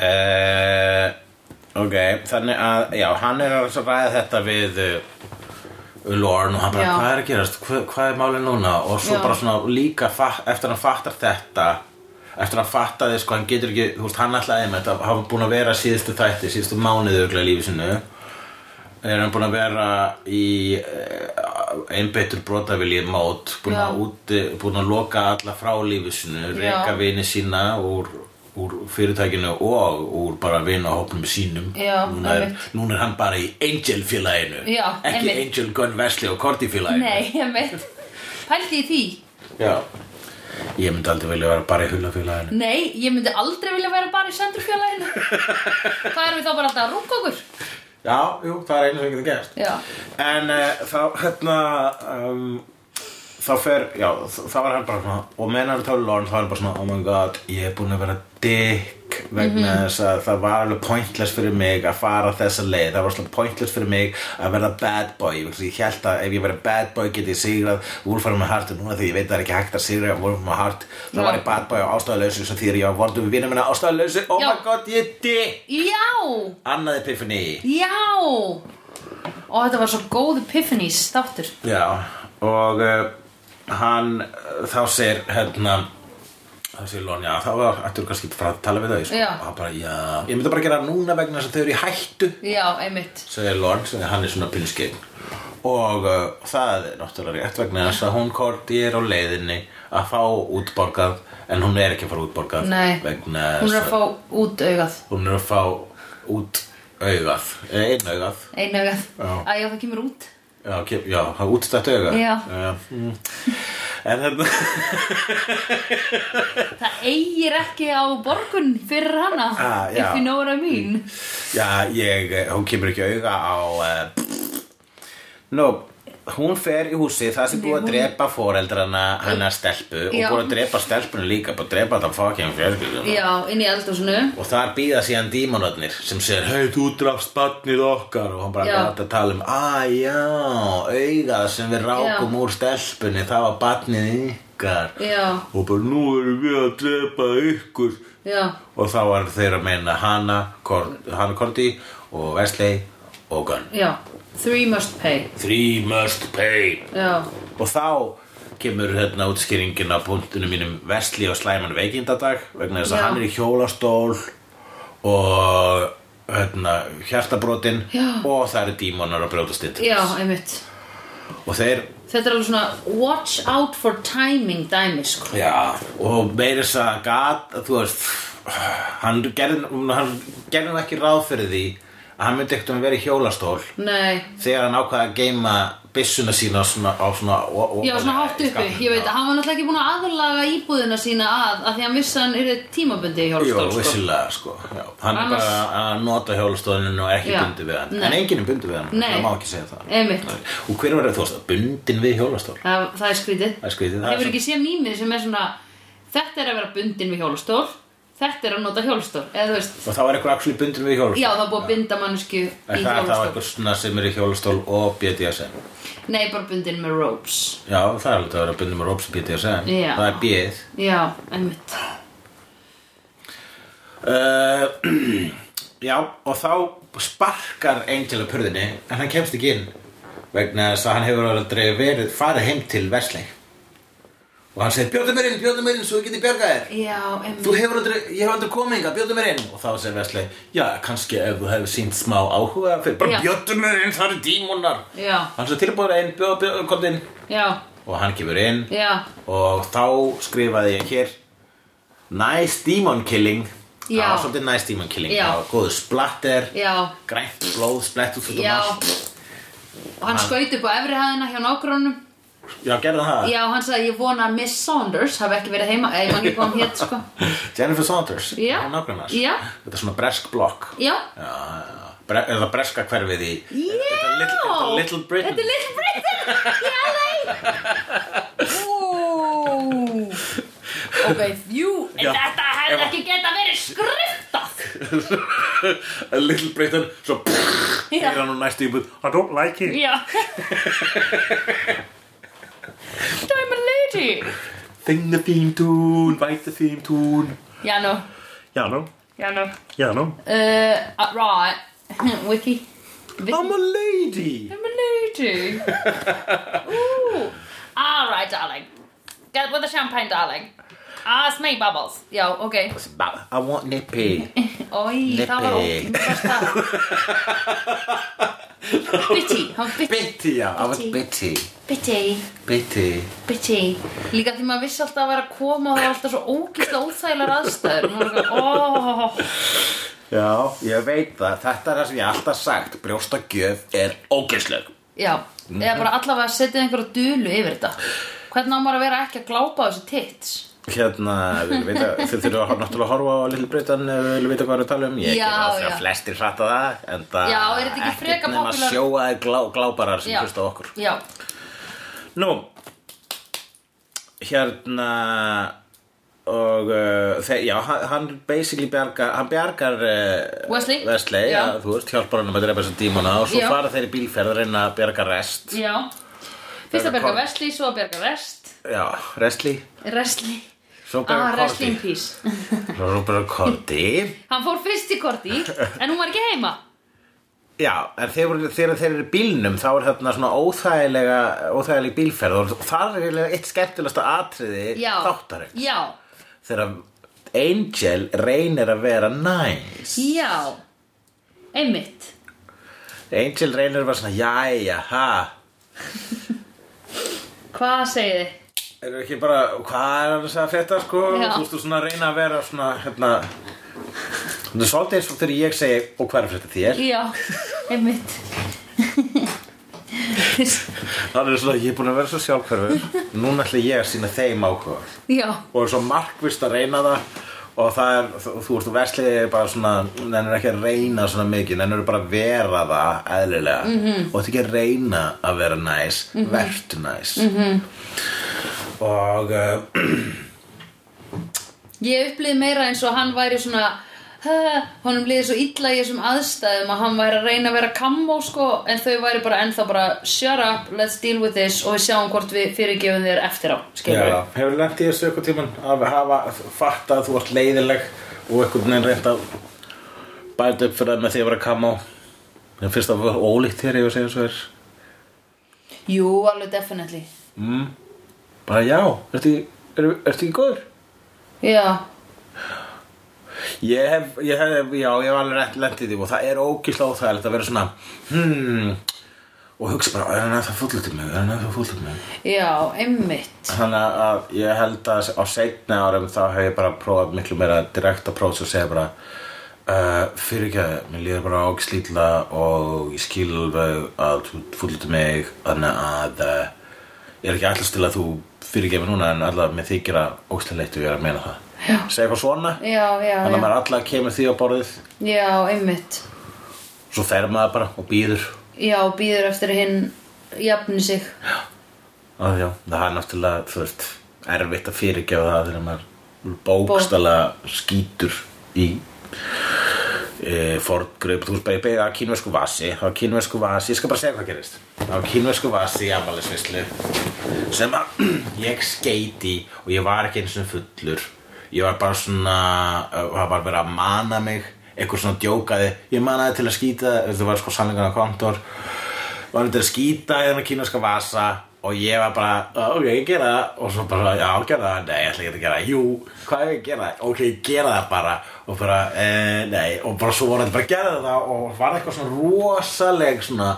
C: uh, ok þannig að já hann er að ræða þetta við uh, Lorne og hann bara
B: Já.
C: hvað er að gerast hvað, hvað er málið núna og svo
B: Já.
C: bara svona líka fa- eftir að hann fattar þetta eftir að hann fattaði sko hann getur ekki þú veist hann ætlaði með þetta hafa búin að vera síðustu þætti síðustu mánuði örugglega í lífi sinu er hann búin að vera í eh, einbeittur brotaviljið mót búin
B: Já.
C: að, úti, búin að loka alla frá lífi sinu
B: Já.
C: reyka vini sína úr, úr fyrirtækinu og úr bara vinahópnum sínum
B: Já,
C: núna, er,
B: einmitt.
C: núna er hann bara í Angel félaginu
B: Já,
C: ekki
B: einmitt.
C: Angel Gunn Wesley og Cordy félaginu
B: Nei, einmitt Pældi í því
C: Já. ég myndi aldrei vilja vera bara í Hula félaginu
B: Nei, ég myndi aldrei vilja vera bara í sendurfjörlæginu Hvað erum við þá bara alltaf að rúka okkur?
C: Já, jú, það er einu sem getur gerst
B: Já.
C: En uh, þá, hérna um, Þá fer, já, þ- þá var hann bara svona Og menn hann tólu lorn, þá var hann bara svona Oh my god, ég er búin að vera dick Vegna
B: Mhm.
C: þess að það var alveg pointless fyrir mig Að fara þessa leið Það var svona pointless fyrir mig að verða bad boy Vegna þess að ég held að ef ég verið bad boy Geti ég sigrað Wolfram með hart Og núna því ég veit að það er ekki hægt að sigra Wolfram með hart Þá
B: Já.
C: var ég bad boy á ástæðuleysu Svo því er ég á vortum við vinum minna ástæðuleysu Oh
B: Já.
C: my god, ég er dick
B: Já,
C: Annað epifaníi
B: já Og þetta var svo góð epiphanies þáttur
C: Já, og uh, hann uh, þá segir hérna þá segir Lón, já, þá var- ættirðu kannski að fara að tala við þau sko.
B: Já.
C: og hann bara, já, ég myndi bara gera það núna vegna þess að þau eru í hættu
B: Já, einmitt
C: segir Lón, segir hann er svona pinnskinn og uh, það er náttúrulega rétt vegna þess að hún korti er á leiðinni að fá útborgað en hún er ekki að fara útborgað
B: Nei.
C: vegna
B: Hún er
C: þess
B: að fá út augað
C: hún er að fá út augað, eh, einn augað
B: Einu augað
C: Já.
B: Æ, já, það kemur út
C: Já, ok, já, það er útstætt auga
B: Já.
C: mm. En hérna
B: Það eigir ekki á borgun fyrir hana
C: Ah, já.
B: If you know what I mean
C: Já, ég, eh, hún kemur ekki auga á uh, Nó, hún fer í húsi Það sem búið að
B: hún-
C: drepa foreldrana hennar stelpu
B: Já.
C: Og búið að drepa stelpunum líka Búið að drepa þetta fucking fjölskyldum
B: Já, inn í eldhúsinu
C: Og þar býða síðan dímonarnir sem segir Hei, þú drafst barnið okkar Og hann bara
B: Já.
C: gæti að tala um Æ, já, augað sem við rákum
B: Já.
C: úr stelpunni Það var barnið ykkar
B: Já.
C: Og bara nú erum við að drepa ykkur
B: Já,
C: Og þá var þeir að meina hana, Cor hana Korti og Wesley og Gunn
B: já Three must pay
C: Three must pay
B: Já,
C: Og þá kemur hérna útskýringin á punktinu mínum Wesley og Slæman veikindadag vegna þess að
B: Já.
C: hann er í hjólastól og hérna hjartabrotin
B: Já.
C: og það eru dímonar að brjótast inn til
B: já,
C: þess.
B: einmitt
C: og þeir
B: Þetta er alveg svona watch out for timing dæmi sko.
C: Já, og meira þess að gat, þú veist, hann gerði, hann gerði nú ekki ráð fyrir því að hann myndi ekkert um að vera í hjólastól
B: Nei,
C: þegar hann ákvaði að geima byssuna sína á svona, á svona o- o-
B: já svona hátt
C: í
B: uppi,
C: skápnum.
B: ég veit að hann var náttúrulega ekki búin að aðlaga íbúðina sína að að því hann vissi að hann yrði tímabundi í
C: Jú,
B: hjálpstól sko.
C: vissilega, sko já. Hann
B: Annars-
C: er bara að nota hjólastólinu og er ekki
B: Já.
C: bundið við hann
B: Nei.
C: En enginn er bundið við hann,
B: Nei.
C: það má ekki segja það
B: Einmitt.
C: Og hver var það, þú veist, bundin við hjólastól?
B: það, það er skrítið
C: Það er skrítið, það er
B: Hefur
C: svo-
B: ekki séð mýmið sem er svona þetta er að vera bundin við hjálpstól þetta er að nota hjálpstól eða þú veist,
C: Og þá er eitthvað actually bundin við hjólastól
B: já það er búið að binda mannsku
C: Er
B: í
C: það þá
B: hjálpstól
C: eitthvað svona sem er í hjólastól og BDSM?
B: Nei, bara bundin með ropes
C: Já, það er alveg að vera bundin með Robson BDSM
B: Já.
C: Það er bíð
B: Já, einmitt
C: uh, Já, og þá sparkar Angel að purðinni En hann kemst ekki inn Vegna þess að hann hefur alveg verið farið heim til Vesley og hann segir bjóðu mér inn, bjóðu mér inn svo ég geti bjargað þér
B: Já, emmi
C: Þú hefur aldrei, ég hef aldrei komið inga, bjóðu mér inn Og þá segir Vesli, já, kannski ef þú hefur sínt smá áhuga fyrir
B: Já.
C: Bara bjóðu mér inn, það eru dímonar
B: Já,
C: Hann er svo tilbúður inn, bjóðu, bjóðu, kom inn
B: já,
C: Og hann kemur inn
B: já
C: Og þá skrifaði ég hér Nice demon killing
B: Já.
C: Það var svolítið nice demon killing
B: Já.
C: Það var góður splatter
B: Já,
C: Grænt blóð, splett út út um
B: já
C: allt
B: Og hann skaut upp á efri hæðina hjá nágrunum
C: Já, gerðu það
B: Já, hann sagði ég vona að Miss Saunders hafi ekki verið heima eða ég man ekki hvað hann hétt sko
C: Jennifer Saunders
B: Já.
C: hún nágrannars.
B: Já.
C: Þetta er svona bresk blokk
B: Já,
C: Já, já. Bre er það breska hverfið í
B: Já!
C: Þetta er Little, þetta er little Britain
B: Þetta er Little Britain í LA Ó. Ok, jú
C: Já,
B: En þetta hefði
C: ef-
B: ekki geta verið skriftað
C: A little Britain Svo
B: Já.
C: er hann úr næstu íbúð I don't like it
B: Já I'm a lady
C: Sing the theme tune, write the theme tune
B: Já, nú
C: Já, no,
B: Já, nú
C: já, no
B: Uh, right Wiki
C: I'm a lady
B: I'm a lady Ooh Alright, darling Get with the champagne, darling Ask me, Bubbles Já, ok
C: I want nippy
B: Oj, það var
C: Lippi.
B: ótt Bitty, hann var bitty
C: Bitty, já, I want bitty
B: Bitty,
C: Bitty
B: bitty Líka því maður vissi alltaf að vera að koma og það var alltaf svo ógísla óþægilegar aðstæður Maður var eitthvað, óh,
C: Já, ég veit það, þetta er það sem ég hef alltaf sagt Brjóstagjöf er ógeðsleg
B: Já,
C: Mhm.
B: eða bara allavega setja einhverja dulu yfir þetta Hvernig á maður að vera ekki að glápa á þessi tits?
C: Hérna, við veitum, þið þurfum að náttúrulega að horfa á Little Britain ef við viljum vita hvað við erum að tala um
B: Já,
C: Ég gef það
B: já.
C: þegar flestir fatta það En það
B: Já, er þetta ekki frekar
C: nema
B: popular-
C: sjóaði glá, glábarar sem
B: Já.
C: hlusta á okkur
B: Já,
C: Nú, hérna og uh, þe- já, hann, hann basically bjargar hann bjargar uh,
B: Wesley.
C: Wesley
B: Já.
C: já. þú veist, hjálpar hann um að drepa þessu dímona og svo
B: Já.
C: fara þeir í bílferð að reyna að bjarga rest
B: já Fyrst
C: Berga
B: að berga
C: Kol-
B: Vesli, svo að berga Rest
C: já, restli
B: Restli
C: svo
B: Ah,
C: bjargar
B: Restli in
C: Korti
B: peace
C: svo bjargar Korti
B: Hann fór fyrst í korti, en hún var ekki heima
C: Já, en þegar, voru- þegar þeir eru í bílnum þá er þarna svona óþægilega óþægileg bílferð og það er eiginlega eitt skemmtilegasta atriði
B: Já,
C: þáttarins
B: já
C: þegar Angel reynir að vera næs
B: Já, einmitt
C: Angel reynir að vera svona jæja, ha
B: Hvað segið þið?
C: Erum við ekki bara, hvað er hann að frétta sko
B: Já.
C: þú veist þú svona að reyna að vera svona hérna Þetta er svolítið eins og þegar ég segi og hvað er að frétta þér
B: Já, einmitt
C: Það er svona, ég er búin að vera svo sjálfhverfur Núna ætla ég að sína þeim ákvöð
B: Já,
C: og er svo markvist að reyna það og það er, þú þú veist, þú verslið er bara svona, nennir ekki að reyna svona mikið nennir bara að vera það eðlilega -hmm. og þetta ekki að reyna að vera næs, mm -hmm. vertu næs -hmm. og uh,
B: ég upplýði meira eins og hann væri svona "Ha, honum liði svo illa í þessum aðstæðum að hann væri að reyna að vera kammo sko, en þau væri bara ennþá bara shut up, let's deal with this og við sjáum hvort við fyrirgefum þér eftir á skilur
C: já, hefur lent í þessu eitthvað tíman að hafa fatta að þú ert leiðileg og eitthvað neginn reynt að bæta upp fyrir það með því að vera kamó en fyrst að vera ólíkt þér ef ég segja svo er
B: Jú, alveg definitely
C: Mm. bara já, ertu, er, ertu ekki góður?
B: Já,
C: Ég hef, ég hef, já, ég hef alveg lent- lent í því og það er ógislega óþægilegt að vera svona hmm, og hugsa bara, er hann eða það fúllutið mig, er hann eða það fúllutið mig
B: já, einmitt
C: Þannig að ég held að á seinni árum þá hef ég bara prófað miklu meira direkt approach og segja bara uh, fyrir ekki að mér líður bara ágislítla og ég skil alveg að þú fúllutið mig þannig að uh, ég er ekki allast til að þú fyrir ekki að mér núna en allavega mér þykir að ógislega leitt og ég er að meina það Segja eitthvað svona
B: Já, já,
C: Þannig að
B: já,
C: maður allavega kemur því á borðið
B: já, einmitt
C: Svo fer maður bara og býður
B: Já, býður eftir að hinn jafni sig
C: að já, það er náttúrulega, þú veist, erfitt að fyrirgefa það þegar maður bókstala skýtur í e, forngrip, þú veist bara, ég beigði að kínversku vasi, á kínversku vasi, ég skal bara segja hvað gerist, á kínversku vasi í afmælisvislu sem að ég skeiti og ég var ekki eins og fullur, ég var bara svona, eh, það var verið að mana mig, eitthvað svona djókaði, ég manaði til að skýta, þetta var sko sannleikana kontor, var þetta að skýta í þennan kínverska vasa og ég var bara, "Ah, ok, ég gera það og svo bara, já, gera það, nei, ég ætla ekki að gera það jú, hvað er ég að gera það, ok, ég gera það bara og bara, eh, nei og bara svo voru þetta bara að gera það og var eitthvað svona rosaleg svona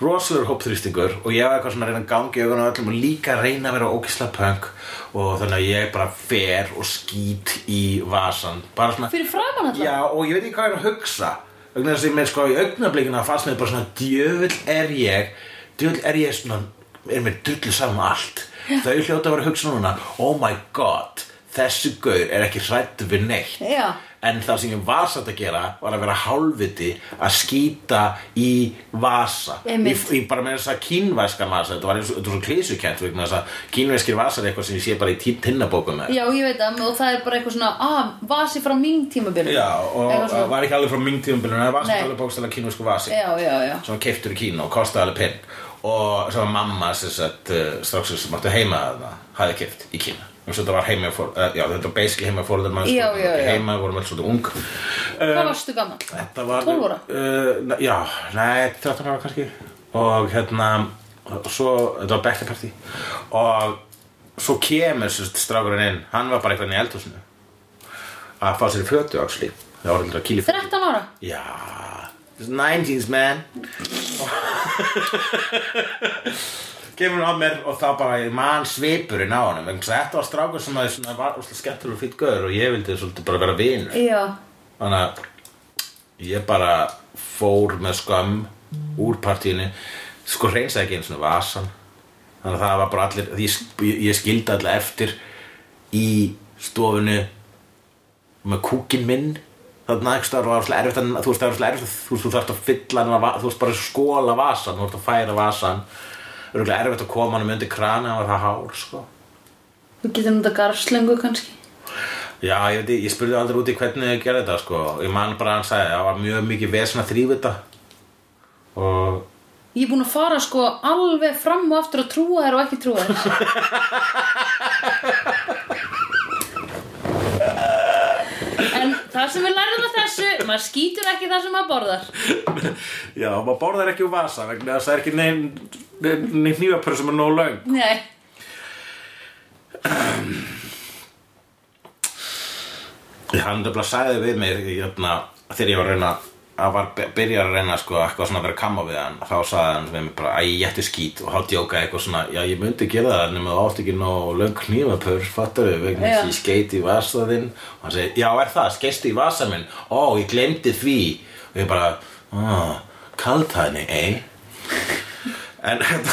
C: rosalur hópþrýstingur og ég var eitthvað svona að reyna að gangi augunum á öllum og líka að reyna að vera ókisla punk og þannig að ég bara fer og skýt í vasan bara svona
B: Fyrir framan alla?
C: Já, og ég veit ekki hvað ég er að hugsa vegna þess að ég með sko í augnablikina fannst mér bara svona djöfull er ég djöfull er ég svona er mér drullu saman um allt þau hljóta að vera að hugsa núna oh my god, þessi gaur er ekki hrættu við neitt
B: Já.
C: en það sem ég var satt að gera var að vera hálfviti að skýta í vasa
B: Einmitt.
C: Í- ég bara með þess að kínvæskan vasa þetta var eins og þetta var svo klísukent vegna þess að kínvæskir vasar er eitthvað sem ég sé bara í tí- tinnabókum með
B: Já, ég veit það, og það er bara eitthvað svona, ah, vasi frá mín tímabil
C: Já, og
B: Eitthvað svona.
C: uh, var ekki alveg frá mingtíðumbilinu en það var
B: Nei.
C: samt alveg bókstæðlega kínúsku vasi
B: Já, já, já
C: sem hann keiftur í Kína og kostaði alveg pinn og sem var mamma sem sagt, uh, stráksins sem átti heima þarna hafði keift í Kína og þetta var heima fór, uh, já, þetta var basically heima fór þegar
B: Já, já, já.
C: heima, vorum alls svolítið ung
B: Hvað varstu gaman?
C: Þetta var
B: 12 ára?
C: Uh, na- já, nei, 13 ára kannski Og hérna og Svo, þetta var birthday party Og svo kemur sérst, strákurinn inn Hann var bara eitthvað inn í eldhúsinu Að fá sér í fötu, actually Það var eitthvað kýli
B: 13 ára?
C: Já, it's 90s man Kemur hann á mér og þá bara ég man svipurinn á honum vegna þess að Þetta var strákur sem að svona var óslega skemmtur og fýtt gaur og ég vildi svolítið bara vera vinur
B: Já,
C: Þannig að ég bara fór með skam úr partíinu sko reynsaði ekki einu svona vasan þannig að það var bara allir ég, ég skildi allir eftir í stofunu með kúkin minn þarna ekki stáður var svolítið erfitt að- þú veist það var svolítið erfitt að- þú veist þú þarft að fylla hann þú veist bara að skóla vasan þú veist að færa vasan örgulega erfitt að koma hann um undir krana hann var það hár sko
B: við getum þetta garfslengu kannski
C: Já, ég, veit, ekki, ég spurði aldrei út í hvernig þau gerði þetta sko. Ég man bara að hann sagði, það var mjög mikið vesen að þrýfa þetta og
B: Ég er búin að fara sko alveg fram og aftur að trúa þér og ekki trúa þér En það sem við lærðum af þessu maður skýtur ekki það sem maður borðar
C: Já, maður borðar ekki úr vasa vegna þess að það er ekki neinn neinn nýjapör sem er nóg löng
B: Nei
C: Hann nefnilega sagði við mig jötna, þegar ég var að reyna að var byrjar að reyna sko, eitthvað svona að vera að kamma við hann þá sagði hann við mig bara að ég ætti skít og þá djókaði eitthvað svona já ég myndi gera það nema þú átt ekki nóg löng knýmapör fattar við vegna þess að ég skeiti í vasa þinn og hann segi já er það skeisti í vasa minn ó ég glemdi því og ég bara "Ah, kaldhæðni ei eh?" en hérna,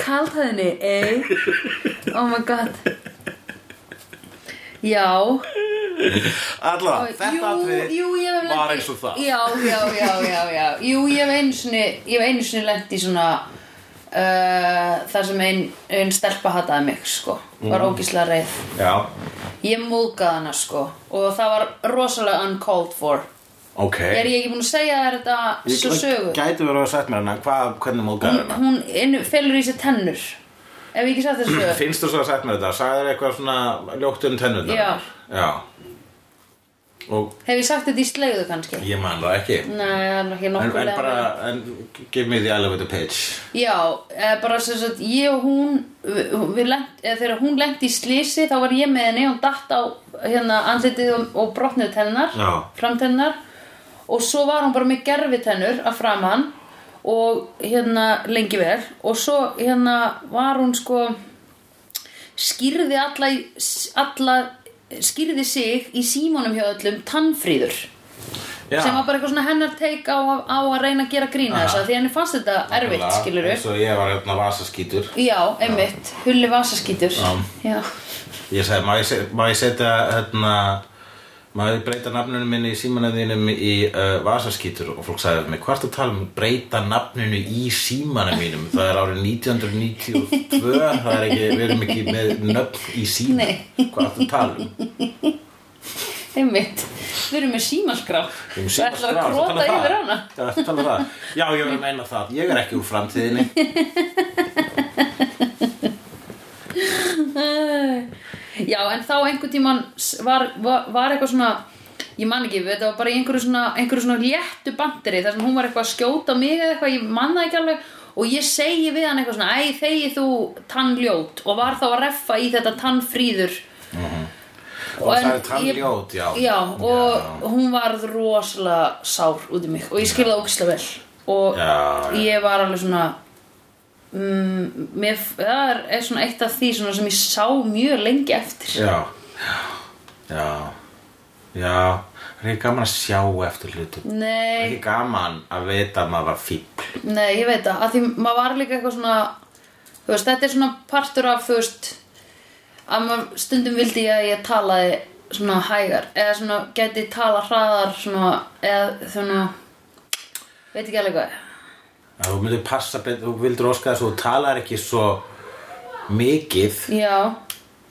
B: Kaltæðinni, ei Oh my god Já
C: allavega þetta atriði
B: jú, ég hef
C: var
B: lent í-
C: eins og það
B: já, já, já, já, já Jú, ég hef einu sinni ég hef einu sinni lent í svona uh, þar sem ein, ein stelpa hataði mig, sko
C: Mhm.
B: var ógíslega reið
C: já
B: Ég múlgaði hana, sko og það var rosalega uncalled for
C: ok
B: Er ég ekki búin að segja þér þetta svo sögu?
C: Gæti verið að sagt mér hana, hvað, hvernig móðgæður hana?
B: Hún inn, felur í sér tennur Ef ég ekki sagt þessu sögu
C: Finnst þú svo að sagt mér þetta? Sagði þér eitthvað svona ljótt um tennurnar?
B: Já.
C: Já. Og
B: Hef ég sagt þetta í slegðu kannski?
C: ég man það ekki.
B: Nei, það er ekki
C: En,
B: nokkulega
C: en bara, en, give me the elevator pitch.
B: Já, eða bara sem sagt, ég og hún, við, við lent, eða þegar hún lenti í slísi þá var ég með henni og hún datt á hérna, andlitið og, og brotnuð tennar,
C: Já.
B: framtennar og svo var hún bara með gerfitennur að framan og hérna lengi vel og svo hérna var hún sko skýrði alla, í- alla skýrði sig í símanum hjá öllum tannfríður
C: Já.
B: sem var bara eitthvað svona hennar teik á, á að reyna að gera grína þess að því henni fannst þetta erfitt skilur
C: Eins og ég var hérna vasaskítur.
B: Já, einmitt, hulli vasaskítur
C: Já.
B: Já,
C: Ég sagði, má ég, se- má ég setja, hérna, má ég breyta nafninu minni í símanæðinum í uh, vasaskítur? Og fólk sagði við mig, hvað ertu að tala um breyta nafninu í símanum mínum? Það er árið 1992, það er ekki, við erum ekki með nöfn í síma.
B: Nei.
C: Hvað ertu að tala um?
B: einmitt Við erum með símaskrá
C: Um
B: Við ætlum að króta yfir hana
C: Já, ertu að tala um það. Já, ég var að meina það. Ég er ekki úr framtíðinni.
B: Já, en þá einhvern tíman var, var, var eitthvað svona ég man ekki, þetta var bara í einhverju svona, einhverju svona léttu banderi þar sem hún var eitthvað að skjóta á mig eða eitthvað, ég man það ekki alveg og ég segi við hann eitthvað svona, æ, þegi þú tannljót og var þá að reffa í þetta tannfríður
C: Og það
B: en
C: er tannljót, já.
B: Já, og hún varð rosalega sár út í mig og ég skilði það ógislega vel og
C: Já, já.
B: ég var alveg svona mm, mér, það er- er svona eitt af því svona sem ég sá mjög lengi eftir
C: Já, já, já, já, það er ekki gaman að sjá eftir hlutum. Það er
B: Nei,
C: ekki gaman að vita að maður var fíbl.
B: nei, ég veit það að því maður var líka eitthvað svona þú veist, þetta er svona partur af þú veist, að maður stundum vildi ég að ég talaði svona hægar eða svona geti tala hraðar svona, eða svona veit ekki alveg hvað
C: Að Þú myndir passa betur, þú vildir óska þess að þú talar ekki svo mikið.
B: Já,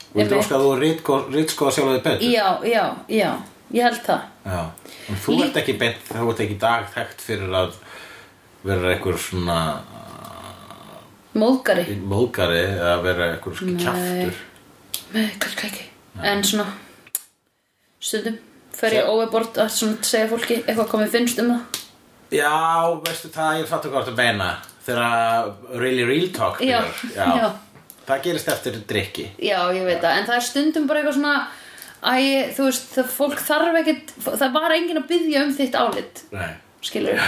C: Þú vildir
B: Einmitt.
C: óska að þú rítskoða ritsko sjálf þig betur.
B: já, já, já ég held það
C: Já, en þú
B: Lí-
C: ert ekki beint, þú ert ekki í dag þekkt fyrir að vera einhver svona
B: Móðgari
C: móðgari eða vera einhver svona kjaftur.
B: Nei, kannski ekki En svona Stundum Fer ég
C: Sem-
B: overbord að svona segja fólki Eitthvað komið finnst um það
C: Já, veistu það, ég fattu hvað þú ert að meina Þegar really real talk
B: Já,
C: byrjar.
B: já.
C: Það gerist eftir drikki
B: Já, ég veit það En það er stundum bara eitthvað svona Æ, þú veist, það fólk þarf ekkit Það var enginn að byggja um þitt álit
C: Nei.
B: Skilur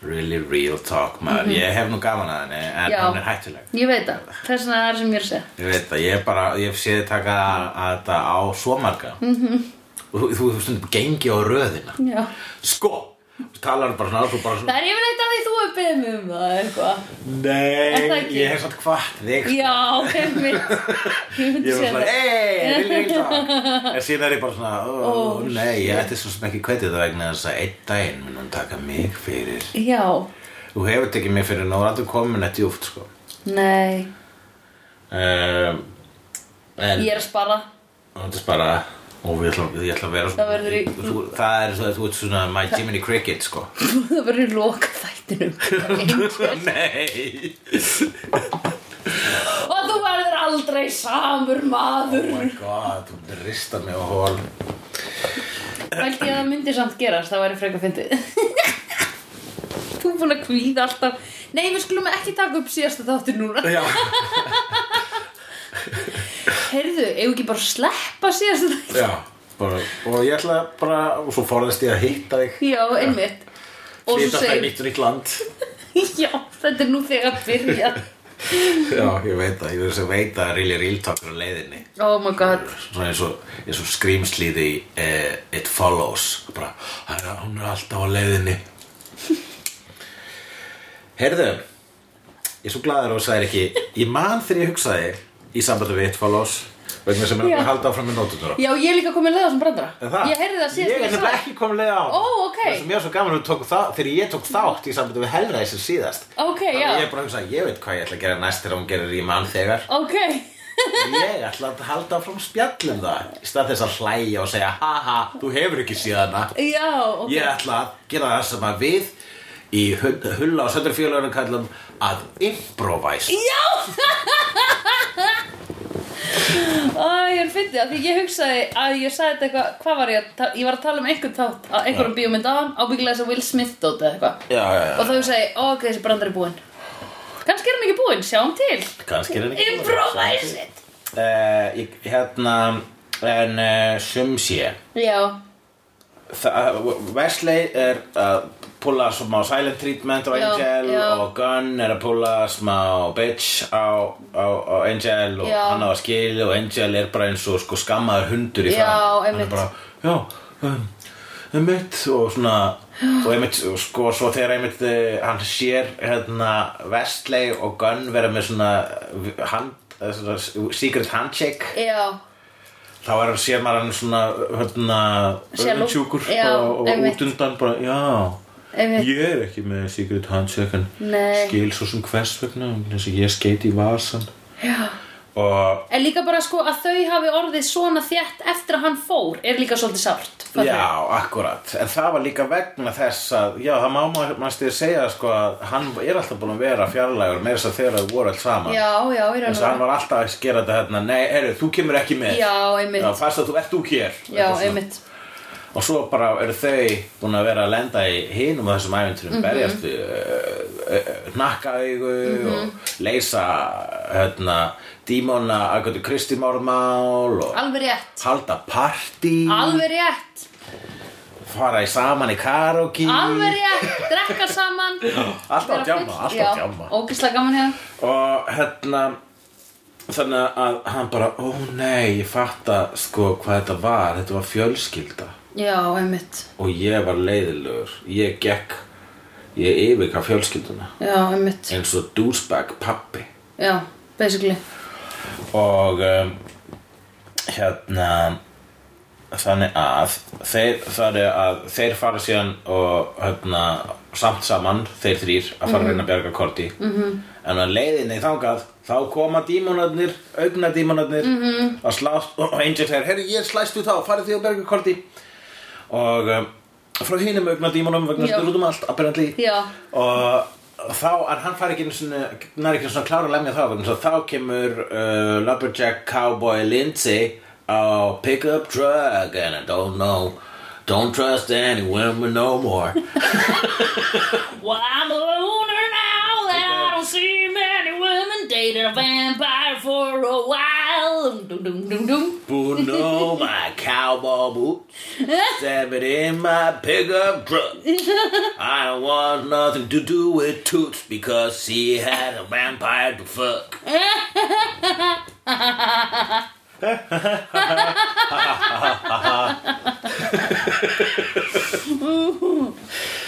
C: Really real talk, maður Ég hef nú gaman að henni, en
B: Mhm. Já.
C: hún er hættuleg
B: Ég veit það Þess vegna er það sem ég er að segja
C: Ég veit það, ég er bara, ég hef séð þið taka að- að þetta á svo marga -hmm.
B: Mhm.
C: Þú þú hefur stundum gengi á röðina
B: Já
C: Sko, þú talar bara svona, þú bara svona
B: Það er yfirleitt að því þú er beðið mig um það eitthvað Er það
C: Nei,
B: ekki?
C: ég hef satt hvart þig sko.
B: Já, einmitt Ég myndi
C: Ég var
B: segja
C: svona,
B: það
C: ei, vil ég það? En síðan er ég bara svona, ó, nei, ég ætti svo sem ekki kveitið það vegna þess að einn daginn mun hann taka mig fyrir.
B: Já,
C: Þú hefur tekið mig fyrir, nú er aldrei komin þetta júft, sko.
B: nei
C: Um, en,
B: Ég er að spara
C: þetta er bara, ó, ég ætla, ég ætla að vera
B: Það verður í-
C: Þú, það er svo að þú ert svona my Jiminy Cricket, sko.
B: Það verður loka þættinum
C: nei.
B: Og þú verður aldrei samur maður
C: Oh my god, þú myndir rista mig á hól.
B: Held ég að það myndi samt gerast Það væri frekar fyndið Þú er búin að kvíða alltaf Nei, við skulum ekki taka upp síðasta þáttir núna
C: Já,
B: Heyrðu, eigum ekki bara að sleppa síðasta þáttir
C: já. Bara, og ég ætla bara, og svo forðast ég að hitta þig.
B: Já, einmitt Og
C: Flytja
B: svo
C: alltaf í
B: segir
C: nýtt nýtt land
B: Já, þetta er nú þegar að byrja
C: Já, ég veit það, ég verður sem veit að Really Real Talk er á leiðinni
B: Oh my god
C: Svona eins og, eins og skrýmsliði eh, It Follows Bara, hann er- hún er alltaf á leiðinni Heyrðu Ég er svo glaður og sagði ekki Ég man þegar ég hugsaði Í sambandi við It Follows Vegna sem er
B: Já.
C: að halda áfram með nótunar
B: Já, ég er líka komin leða sem
C: Er
B: brandara Ég heyrði það síðast
C: Ég er nefnilega ekki komið leið á
B: Ó, ok.
C: Það sem ég var svo gaman að þú tók það Þegar ég tók þátt í sambandi við Hellraiser síðast
B: Ok,
C: Þannig
B: já.
C: Ég er bara að hugsa, ég veit hvað ég ætla að gera næst Þegar hún gerir í mann þegar
B: Ok
C: Ég ætla að halda áfram spjallum það Í stað þess að hlæja og segja Haha, þú hefur ekki síðana
B: Já, ok
C: Ég ætla að gera það sem að við Í Hull- hulla og söndurfjölunum kallum Að improvise
B: Já Æ, ég er fyndið að því ég hugsaði að ég sagði þetta eitthvað, hvað var ég að ta- ég var að tala um einhvern þátt, að einhverjum bíómynd á ábyggilega þess að Will Smith dóti eða eitthvað
C: Já, já,
B: og þá hugsaði, ég, ó, ok, þessi brandar er búinn kannski er hann ekki búinn, sjáum til
C: Kannski er hann ekki
B: Improvise it
C: Eh, ég- Hérna En uh, sum sé
B: Já,
C: Það- Wesley er að púla smá silent treatment á
B: Já,
C: Angel
B: já.
C: og Gunn er að púla smá bitch á, á, á Angel og
B: Já.
C: hann á að skilja og Angel er bara eins og sko skammaður hundur í
B: Já,
C: fram hann
B: einmitt.
C: er bara, já, um, einmitt og svona og einmitt, og sko, svo þegar einmitt eh, hann sér hérna Wesley og Gunn vera með svona eh, hand, eh, svona secret handshake
B: já,
C: þá er hann sér maður hann svona hérna,
B: Sjálf-
C: öfundsjúkur
B: Já,
C: og, og
B: einmitt.
C: út undan bara, já
B: Einmitt.
C: ég er ekki með secret handshake en
B: Nei.
C: skil svo sem hvers vegna þess að ég skeiti í vasan
B: já,
C: og
B: En líka bara sko að þau hafi orðið svona þjætt eftir að hann fór er líka svolítið sárt. fattar við?
C: Já, akkurat, en það var líka vegna þess að, já, það má maður stuðið segja sko að hann er alltaf búin að vera fjarlægur með þess að þegar þau voru alls saman
B: Já, já, í raun
C: þess að
B: og
C: hann var alltaf að gera þetta hérna, nei, eru, þú kemur ekki með
B: Já, einmitt.
C: Já, fast að þú ert þú hér
B: Já,
C: Eitthvað svona.
B: einmitt.
C: Og svo bara eru þau búin að vera að lenda í hinum og þessum æventurum berjast við uh, hnakkaugu og leysa hérna, dímona Agatha Christie málmál og
B: Alveg rétt.
C: halda partí
B: Alveg rétt.
C: fara í saman í karaoke
B: Alveg rétt. Drekka saman.
C: Alltaf
B: Vera
C: að djamma,
B: full.
C: alltaf að
B: Já,
C: djamma.
B: Ógeðslega gaman hjá. þeim.
C: og hérna þannig að hann bara ó nei, ég fatta sko hvað þetta var, þetta var fjölskylda
B: Já, einmitt.
C: og ég var leiðilegur ég gekk, ég yfirka fjölskylduna
B: Já, einmitt.
C: eins og douchebag pappi
B: Já, basically.
C: og um, hérna þannig að þeir, það er að þeir fara síðan og hérna, samt saman þeir þrýr að fara að reyna að bjarga Korti -hmm.
B: Mhm.
C: en að leiðinni þangað þá koma dímonarnir, augna dímonarnir -hmm.
B: Mhm.
C: að slást og Angel segir herri ég slæst þú þá, farið því að bjarga Korti og um, frá hinum augna dímonum vegna
B: Já.
C: þetta rútum um allt apparently
B: Já.
C: og uh, þá að hann fari ekki einu sinni nær ekki svona klára að lemja það vegna þess að þá kemur uh, Lumberjack Cowboy Lindsay á Pick Up Truck and I don't know Don't trust any women no more
B: Well, I'm a loner now that I don't see many women dated a vampire for a while. Dum, dum, dum, dum.
C: Who know my cowboy boots Stab it in my pickup truck I don't want nothing to do with Toots Because she had a vampire to fuck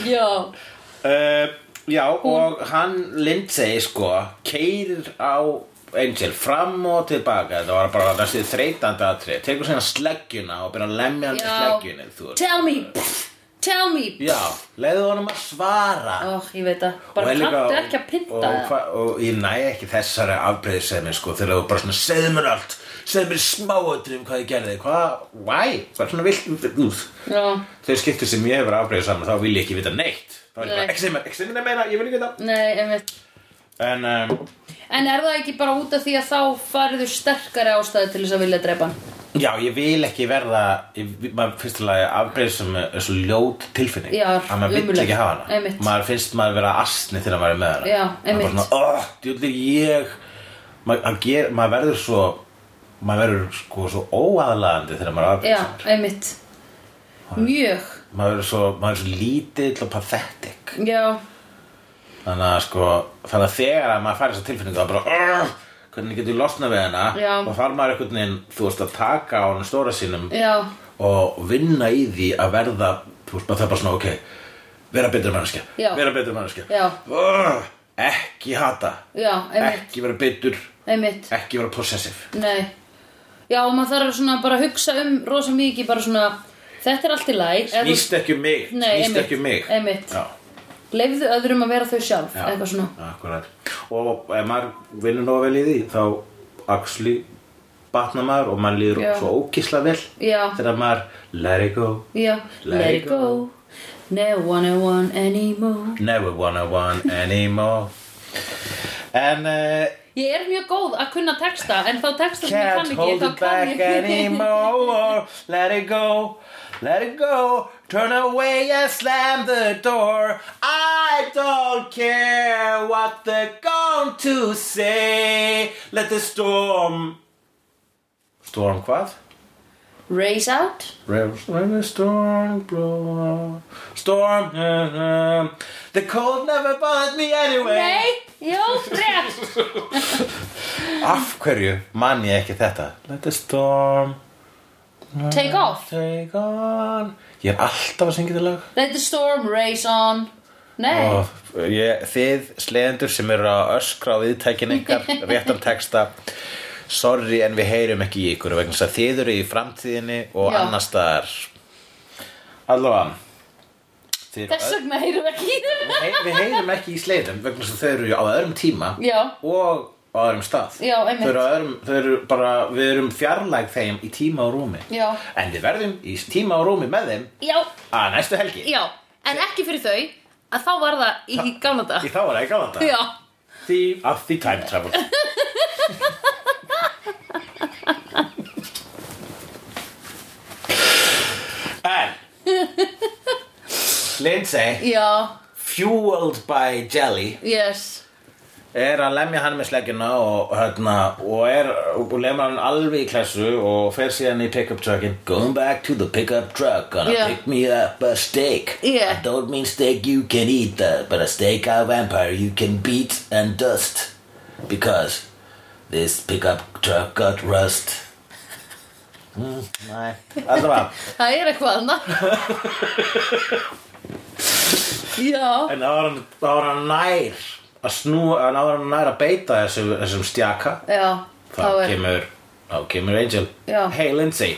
B: Já,
C: Uh, já, og hann Lindsay, sko, keirir á Angel fram og tilbaka Þetta var bara þessi þreytandi aðtrið Tekur síðan sleggjuna og byrja að lemja hann til
B: Já.
C: sleggjunni þú veist.
B: tell me, pff, tell me.
C: Já, leiðu honum að svara
B: Ó, ég veit að,
C: Og
B: bara
C: er líka-
B: kanntu ekki að pynta
C: og,
B: það.
C: hva, og ég næ ekki þessari afbreyðsemi sko þegar þú bara svona segðu mér allt segðu mér smáötri um hvað ég gerði hvað, why, bara svona vilt út
B: Já,
C: þau skiptir sem ég hefur afbreyðið saman þá vil ég ekki vita neitt þá er ég bara,
B: Nei.
C: ekki segja mér, ekki segja mér meina, ég vil ekki vita
B: nei, einmitt.
C: en um,
B: En er það ekki bara út af því að þá fariðu sterkari ástæði til þess að vilja drepa hann?
C: Já, ég vil ekki verða ég, maður finnst til að afbreyða sem þessu ljót tilfinning
B: Já,
C: að maður vill
B: ömurleg.
C: ekki hafa hana
B: Einmitt.
C: maður finnst maður vera astni þegar maður er með hana
B: Já,
C: maður
B: einmitt.
C: bara svona, oh, djúllir ég maður, hann ger, maður verður svo maður verður sko svo óaðlaðandi þegar maður er
B: Já,
C: afbreyða
B: einmitt. Mjög,
C: maður verður svo, maður er svo lítill og pathetic
B: já,
C: þannig að sko þannig að þegar að maður fær þessa tilfinningu þá bara oh, hvernig getur losnað við hana
B: Já.
C: og þarf maður einhvern veginn, þú veist að taka á hann stóra sínum
B: já,
C: og vinna í því að verða þú veist, maður það er bara svona, ok vera betur mannskja,
B: Já.
C: vera betur mannskja
B: Já.
C: Urgh, ekki hata
B: já, einmitt,
C: ekki vera betur,
B: einmitt.
C: ekki vera possessive
B: Nei Já og maður þarf svona bara að hugsa um rosa mikið bara svona Þetta er allt í læg
C: snýst ekki um mig,
B: Nei,
C: snýst
B: einmitt,
C: ekki um mig
B: einmitt.
C: Já,
B: Leifðu öðrum að vera þau sjálf
C: já,
B: Eitthvað svona
C: akkurat. og ef maður vinnur nóg vel í því þá axli batna maður og maður líður
B: Já.
C: svo ókísla vel
B: Já.
C: þegar maður let it go
B: Já
C: Let
B: Let
C: it
B: it go Never wanna one anymore
C: never wanna one anymore en uh,
B: Ég er mjög góð að kunna texta En þá texta sem ég
C: Can't
B: kann ekki
C: hold
B: Þá
C: it
B: kann
C: back
B: ég
C: anymore. Let it go. Let it go. Turn away and slam the door. I don't care what they're going to say. Let the storm. Storm hvað?
B: Raise out
C: When the storm blow up. Storm. uh, uh, the cold never bothered me anyway.
B: Nei Jó, rétt
C: Af hverju man ég ekki þetta? Let the storm.
B: Take off
C: Take on Ég er alltaf að syngja þetta lag
B: Let the storm raise on Nei
C: og ég, Þið sleðendur sem eru að öskra á viðtækin ykkar réttan texta Sorry en við heyrum ekki í ykkur vegna þess að þið eru í framtíðinni og
B: Já.
C: annars staðar Allavega þið eru
B: Þess vegna heyrum við ekki
C: öll- Við heyrum ekki í sleðum vegna þess að þau eru á öðrum tíma
B: Já.
C: og á öðrum stað
B: Já, einmitt.
C: þau eru, á öðrum, þau eru bara, við erum fjarlæg þeim í tíma og rúmi
B: Já.
C: en við verðum í tíma og rúmi með þeim
B: Já,
C: að næstu helgi
B: já, en ekki fyrir þau að þá var það í gamla dag
C: því þá er ekki á þetta
B: Já,
C: því að því time travel en Lindsay
B: já,
C: fueled by jelly
B: yes
C: er að lemja hann með sleggjuna og, hérna, og, er, og lemja hann alveg í klessu og fer síðan í pick-up truckin Going back to the pick-up truck gonna
B: Yeah.
C: pick me up a steak
B: Yeah.
C: I don't mean steak you can eat uh, but a steak of vampire you can beat and dust because this pick-up truck got rust mm, Nei, allavega
B: Það er eitthvað annað Já,
C: En það var hann- það var hann nær að snúa, það var hann nær að beita þessu, þessum stjaka
B: já, þá
C: þá
B: er
C: kemur, þá kemur Angel
B: Já.
C: Hey Lindsay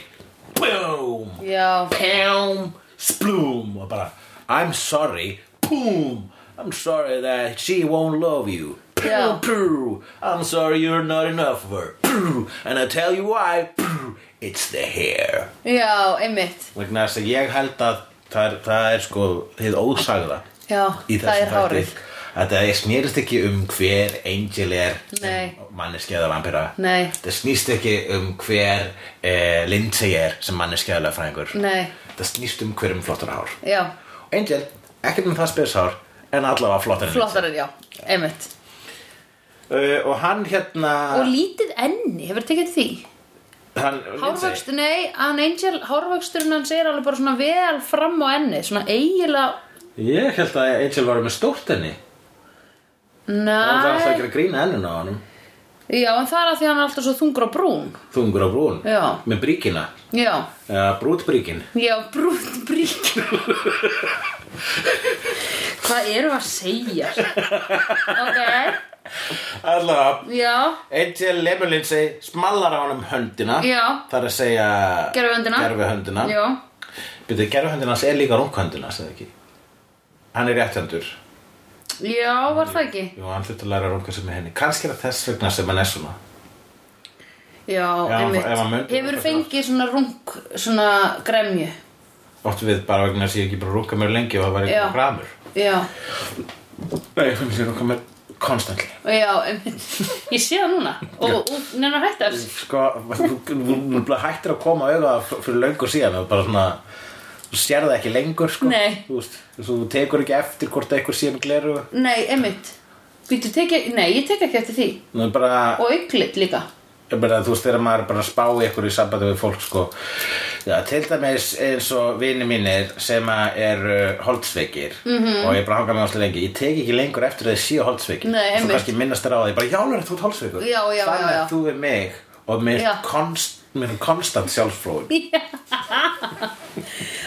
C: Boom,
B: Já,
C: pow, sploom og bara I'm sorry, boom I'm sorry that she won't love you
B: Já.
C: Pew, pew I'm sorry you're not enough of her Pew, and I tell you why Pew, It's the hair
B: já, einmitt
C: Vegna þess að ég held að það er, það er sko hið ósagða
B: Já,
C: í
B: það er
C: þessum
B: hárið
C: þætti að það snerist ekki um hver Angel er
B: Nei.
C: manneskjaða vampira
B: Nei.
C: það snýst ekki um hver eh, Lindsay er sem manneskjaða lögfræðingur
B: Nei.
C: það snýst um hverjum flottar hár
B: Já,
C: Angel, ekkert um það spesár en allavega flottar en
B: flottar er já, einmitt
C: Lindsay. uh, og hann hérna
B: Og lítið enni, hefur tekið eftir því?
C: hann, Lindsay,
B: Hárvöxtur, nei, hann Angel, hárvöxturinn hans er alveg bara svona vel fram á enni, svona eiginlega,
C: ég held að Angel var með stórt henni það var alltaf
B: næ,
C: ekki að grína ennuna á honum
B: já, en það er að því hann er alltaf svo þungur og brún,
C: þungur á brún
B: Já.
C: með bríkina
B: já,
C: uh, brútbríkin
B: já, brún, brík, hvað erum við að segja, ok,
C: allavega
B: já,
C: Angel lemur Lindsay smallar á honum höndina
B: Já.
C: Það er að segja
B: Gervihöndina.
C: Gervihöndina
B: já,
C: Byrðu, gerfuhöndina hans er líka runghöndina, segði ekki Hann er rétthöndur Jú,
B: já, var það ekki,
C: hann hlut að læra runga sem með henni Kannski er það þess vegna sem hann er svona
B: já,
C: hann-
B: einmitt,
C: ef hann mundi-
B: hefur fengið svona rung, svona gremju,
C: Ótt við bara vegna þess að ég ekki bara runga mér lengi og það var
B: Já.
C: eitthvað hramur
B: já,
C: Nei, ég finnst ég runga mér konstantli
B: já, einmitt, ég sé það núna, og, og, neina hætti þessu.
C: Sko, hún er bara hættir að koma auða fyrir löngu síðan og bara svona Þú sér það ekki lengur, sko
B: Nei.
C: Þú veist, þú tekur ekki eftir hvort eitthvað sé með gleru
B: Nei, einmitt Býtu, teki, Nei, ég tek ekki eftir því
C: Nú er bara
B: Og auklit líka
C: Ég meina, þú veist, þegar maður er bara að spá í ykkur í sambandi við fólk, sko. Já, til dæmis eins og vini mínir sem að eru holdsveikir -hmm. og ég er bara hangað með áslega lengi. Ég tek ekki lengur eftir að þið séu holdsveikir.
B: Mhm. Nei,
C: Svo
B: einmitt.
C: kannski minnast þér á það. Ég bara, já, alveg, þú ert holdsveikur.
B: Já, já,
C: Þannig
B: já, já.
C: að þú er mig og mér
B: Já.
C: er konst, mér er konstant sjálfsfróðum.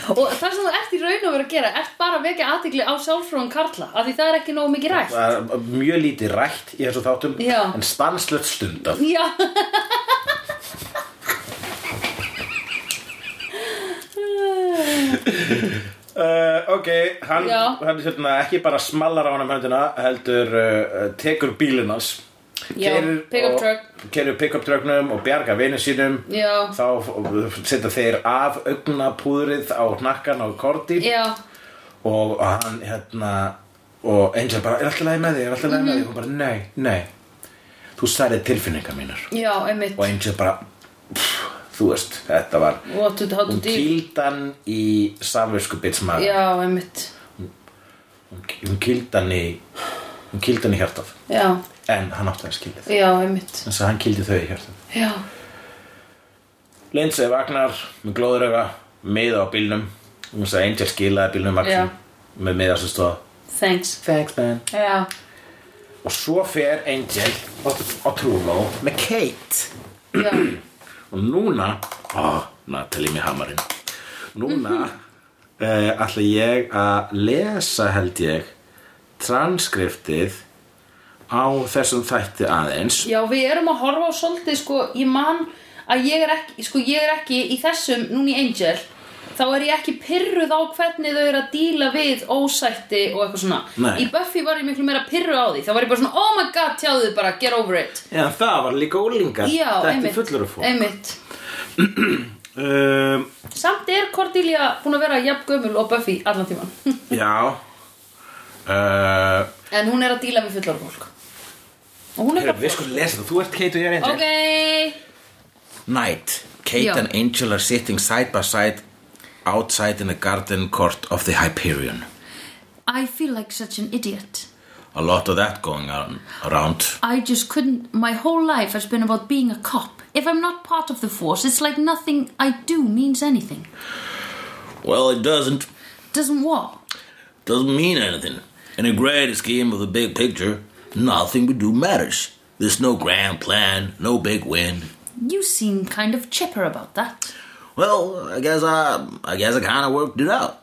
B: Og það sem þú ert í raun og verið að gera Ert bara að vekja aðtikli á sjálfrúan Karla Af því það er ekki nógu mikið rætt
C: Það er mjög lítið rætt í þessu þáttum
B: Já.
C: en stanslöld stundar.
B: Já
C: Uh, ok, hann,
B: Já.
C: hann hérna, ekki bara smallar á hann um höndina heldur uh, uh, tekur bílinn hans
B: Já,
C: Keyrir
B: pick-up
C: og-
B: truck.
C: keyrir pick-up trucknum og bjarga vinnu sínum
B: Já.
C: þá uh, setja þeir af augnapúðrið á hnakkan á korti
B: Já
C: og hann hérna og Angel bara, er alltaf leið með þig, er alltaf leið með
B: Mhm.
C: þig og bara, nei, nei þú særið tilfinningar mínar
B: Já, einmitt
C: og Angel bara, pff, þú veist þetta var,
B: What to, how to
C: hún
B: deal
C: kýldan í samvisku bitsmaður
B: Já, einmitt
C: hún, hún kýldi hann í hún kýldi hann í hjartað
B: Já,
C: en hann átti hans kýldið
B: já, einmitt
C: þess að hann kýldi þau í hjartað
B: Já,
C: Lindsay vagnar með glóðuröga miða á bílnum hún sagði Angel skilaði bílnum
B: Já.
C: vaksin með miða sem stóð
B: thanks
C: thanks man
B: Já,
C: og svo fer Angel og, og Trúló með Kate
B: já,
C: og núna ó, Natalie með hamarinn núna uh, ætla ég að lesa held ég transkriptið á þessum þætti aðeins
B: já, við erum að horfa á svolítið sko, ég man að ég er ekki, sko, ég er ekki í þessum, núna í Angel þá er ég ekki pyrruð á hvernig þau eru að díla við ósætti og eitthvað svona
C: Nei.
B: í Buffy var ég miklu meira pyrruð á því þá var ég bara svona, oh my god, tjáðu þið bara, get over it
C: Já, það var líka ólingar.
B: já,
C: Þetta
B: einmitt,
C: er fullur að fólk.
B: einmitt
C: Um,
B: samt er Cordelia búin að vera jafn gömul og Buffy allan tíman
C: já. Uh,
B: en hún er að díla við fullorðið fólk og hún er
C: við skulum lesa það. Þú ert Kate og ég er Angel.
B: ok,
C: Night. Kate
B: Já.
C: and Angel are sitting side by side outside in the garden court of the Hyperion.
B: I feel like such an idiot
C: A lot of that going on around.
B: I just couldn't. My whole life has been about being a cop. If I'm not part of the force, it's like nothing I do means anything.
C: Well, it doesn't.
B: Doesn't what?
C: Doesn't mean anything. In the grand scheme of the big picture, nothing we do matters. There's no grand plan, no big win.
B: You seem kind of chipper about that.
C: Well, I guess I, I guess I kind of worked it out.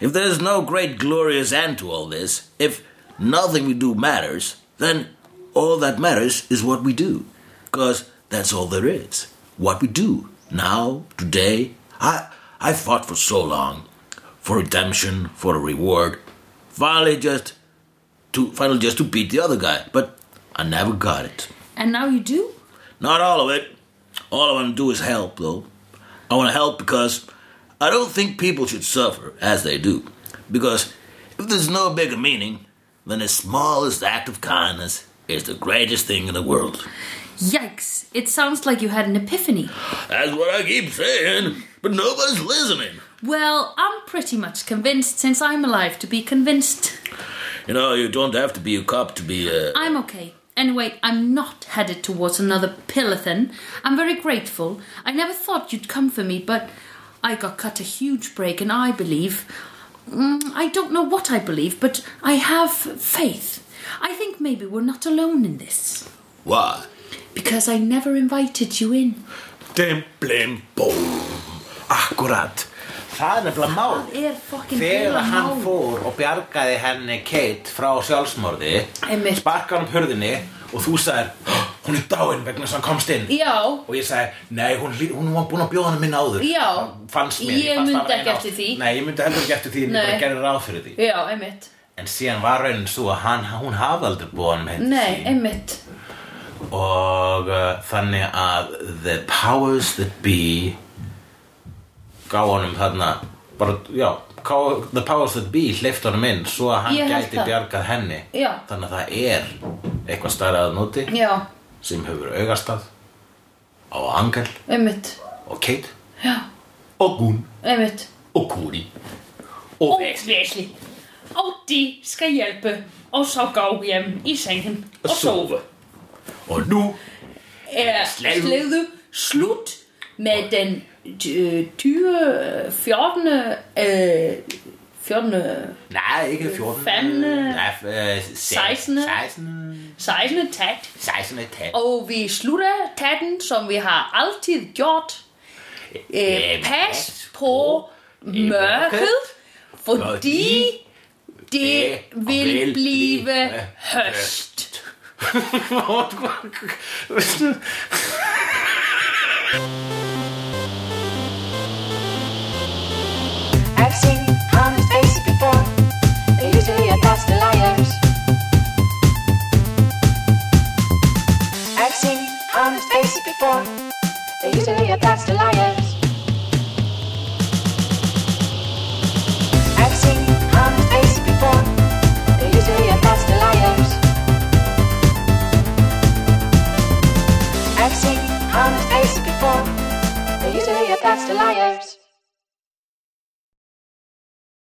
C: if there's no great glorious end to all this, if nothing we do matters, then all that matters is what we do, because that's all there is. What we do now, today. I I fought for so long, for redemption, for a reward. Finally, just to finally just to beat the other guy, but I never got it.
B: And now you do?
C: Not all of it. All I want to do is help, though. I want to help because I don't think people should suffer as they do. Because if there's no bigger meaning, then the smallest act of kindness is the greatest thing in the world.
B: Yikes, it sounds like you had an epiphany.
C: That's what I keep saying, but nobody's listening.
B: Well, I'm pretty much convinced since I'm alive to be convinced.
C: You know, you don't have to be a cop to be a.
B: I'm okay. Anyway, I'm not headed towards another pillathon. I'm very grateful. I never thought you'd come for me, but I got cut a huge break, and I believe. Mm, I don't know what I believe, but I have faith. I think maybe we're not alone in this.
C: Why?
B: Because I never invited you in.
C: Dim, blim, bóm. Akkurat. Það er nefnilega mál.
B: Er fucking
C: Þegar
B: heila
C: hann
B: mál.
C: fór og bjargaði henni Kate frá sjálfsmorði
B: Einmitt.
C: Sparkaði hann hurðinni og þú sagðir "Hó, Hún er dáin vegna þess að hann komst inn
B: Já,
C: Og ég sagði, nei, hún, hlý- hún var búin að bjóða hann minn áður
B: Já.
C: Það Fannst mér,
B: Ég
C: fannst það
B: mundi
C: var
B: ekki
C: eina
B: eftir
C: ást-
B: því.
C: Nei, ég myndi heldur ekki eftir því en
B: Nei.
C: ég bara gerði ráð fyrir því
B: já, einmitt.
C: En síðan var raunin svo að hann, hún hafði aldrei búið hann minn
B: Nei, einmitt.
C: Og uh, þannig að The powers that be Gá honum þarna bara, já, ká- The powers that be Hleyft honum inn svo að hann
B: Ég held
C: gæti
B: það.
C: bjargað henni
B: Já.
C: Þannig að það er eitthvað stærra að núti
B: Já,
C: Sem hefur augastað Á Angel
B: einmitt.
C: og Kate
B: Já,
C: Og Gun
B: einmitt.
C: og Kuri Og Vex
A: Óvæsli. Ótti skal hjælpe, og så gå hjem i sengen og sove.
C: Og nú
B: er
C: Slæðu.
B: slæðu slut med den øh, dyre 14. Øh, 14.
C: Nei, ekki 14
A: Femne.
C: Nei, eh, se-
B: Sekstende.
C: 16
A: 16. takt.
C: 16 tætt
B: Og vi slutter tatten, som vi har altid gjort. Øh,
C: Øh,
B: pas på mørket, fordi det vil blive høst.
C: Veistu